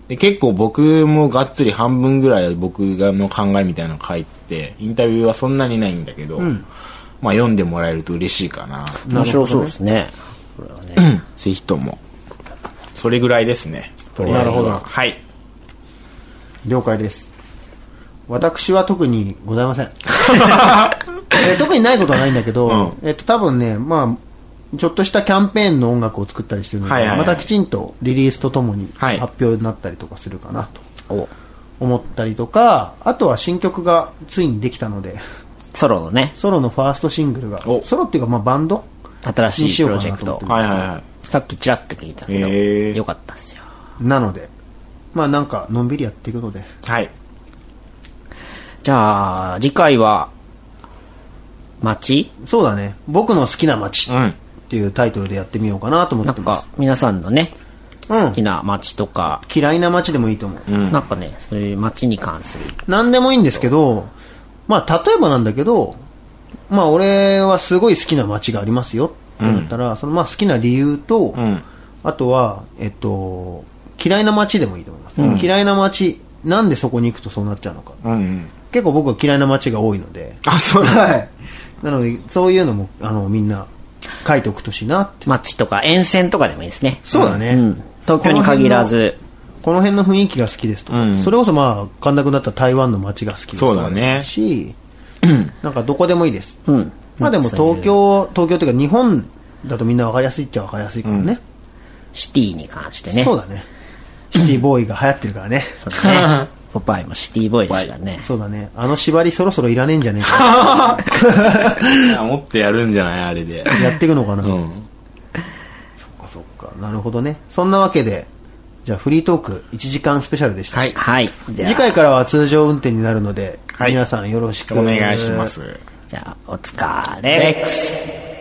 Speaker 2: で結構僕もがっつり半分ぐらい僕がの考えみたいなの書いてて、インタビューはそんなにないんだけど、まあ読んでもらえると嬉しいかな。
Speaker 3: 面白そうですねこれはね。
Speaker 2: ぜひとも。それぐらいですね。とりあえず
Speaker 1: な
Speaker 2: は
Speaker 1: るほど
Speaker 2: はい。
Speaker 1: 了解です私は特にございませ (laughs) ん、えー特にないことはないんだけど、
Speaker 2: う
Speaker 1: えっと多分ねまあちょっとしたキャンペーンの音楽を作ったりしてるので、
Speaker 2: はいはいはい
Speaker 1: またきちんとリリースとともに
Speaker 2: はい
Speaker 1: 発表になったりとかするかなと
Speaker 3: お
Speaker 1: 思ったりとか、あとは新曲がついにできたので
Speaker 3: ソロのね、
Speaker 1: ソロのファーストシングルが
Speaker 2: お
Speaker 1: ソロっていうかまあバンド
Speaker 3: 新しいプロジェク
Speaker 1: にしようか。
Speaker 3: ト
Speaker 1: な
Speaker 2: はいはいはい。
Speaker 3: さっきちらっと聞いたけど、
Speaker 2: へー
Speaker 3: よかったっすよ。
Speaker 1: なのでまあなんかのんびりやっていくので
Speaker 2: はい。
Speaker 3: じゃあ、次回は、街
Speaker 1: そうだね僕の好きな街
Speaker 2: うん。
Speaker 1: っていうタイトルでやってみようかなと思
Speaker 3: な
Speaker 1: って
Speaker 3: ん
Speaker 1: ま
Speaker 3: か
Speaker 1: す、
Speaker 3: 皆さんのね、
Speaker 1: うん
Speaker 3: 好きな街とか、
Speaker 1: 嫌いな街でもいいと思う、
Speaker 3: なんかね、そういう街に関する。
Speaker 1: 何でもいいんですけどまあ例えばなんだけどまあ俺はすごい好きな街がありますよってなったら、そのまあ好きな理由と、
Speaker 2: ん
Speaker 1: あとはえっと嫌いな街でもいいと思います、嫌いな街なんでそこに行くとそうなっちゃうのか
Speaker 2: うんうん。
Speaker 1: 結構僕は嫌いな街が多いので
Speaker 2: あ、そうだ。
Speaker 1: はいなのでそういうのもあのみんな書いておくとしいなって
Speaker 3: 街とか沿線とかでもいいですね。
Speaker 1: そうだね
Speaker 3: ん東京に限らず、
Speaker 1: この辺の雰囲気が好きですとか、
Speaker 2: うん
Speaker 1: それこそまあ神田君だったら台湾の街が好きですと
Speaker 2: そう
Speaker 1: か
Speaker 2: だね
Speaker 1: し、 (clears throat) なんかどこでもいいです、
Speaker 3: うん
Speaker 1: まあでも
Speaker 3: そういう
Speaker 1: 東京東京というか日本だとみんな分かりやすいっちゃ分かりやすいからね、
Speaker 3: シティに関してね。
Speaker 1: そうだねシティボーイが流行ってるからね
Speaker 3: そうだね。ポパイもシティボーイでしたね。
Speaker 1: そうだねあの縛りそろそろいらねえんじゃねえか
Speaker 2: もっとやるんじゃないあれ (laughs) で。
Speaker 1: やっていくのかな、
Speaker 2: うん。
Speaker 1: そっかそっかなるほどねそんなわけでじゃあフリートーク1時間スペシャルでした、
Speaker 3: はい。じゃあ
Speaker 1: 次回からは通常運転になるので、
Speaker 2: はい
Speaker 1: 皆さんよろしく
Speaker 2: お願いします。
Speaker 3: じゃあ、お疲れ。レックス。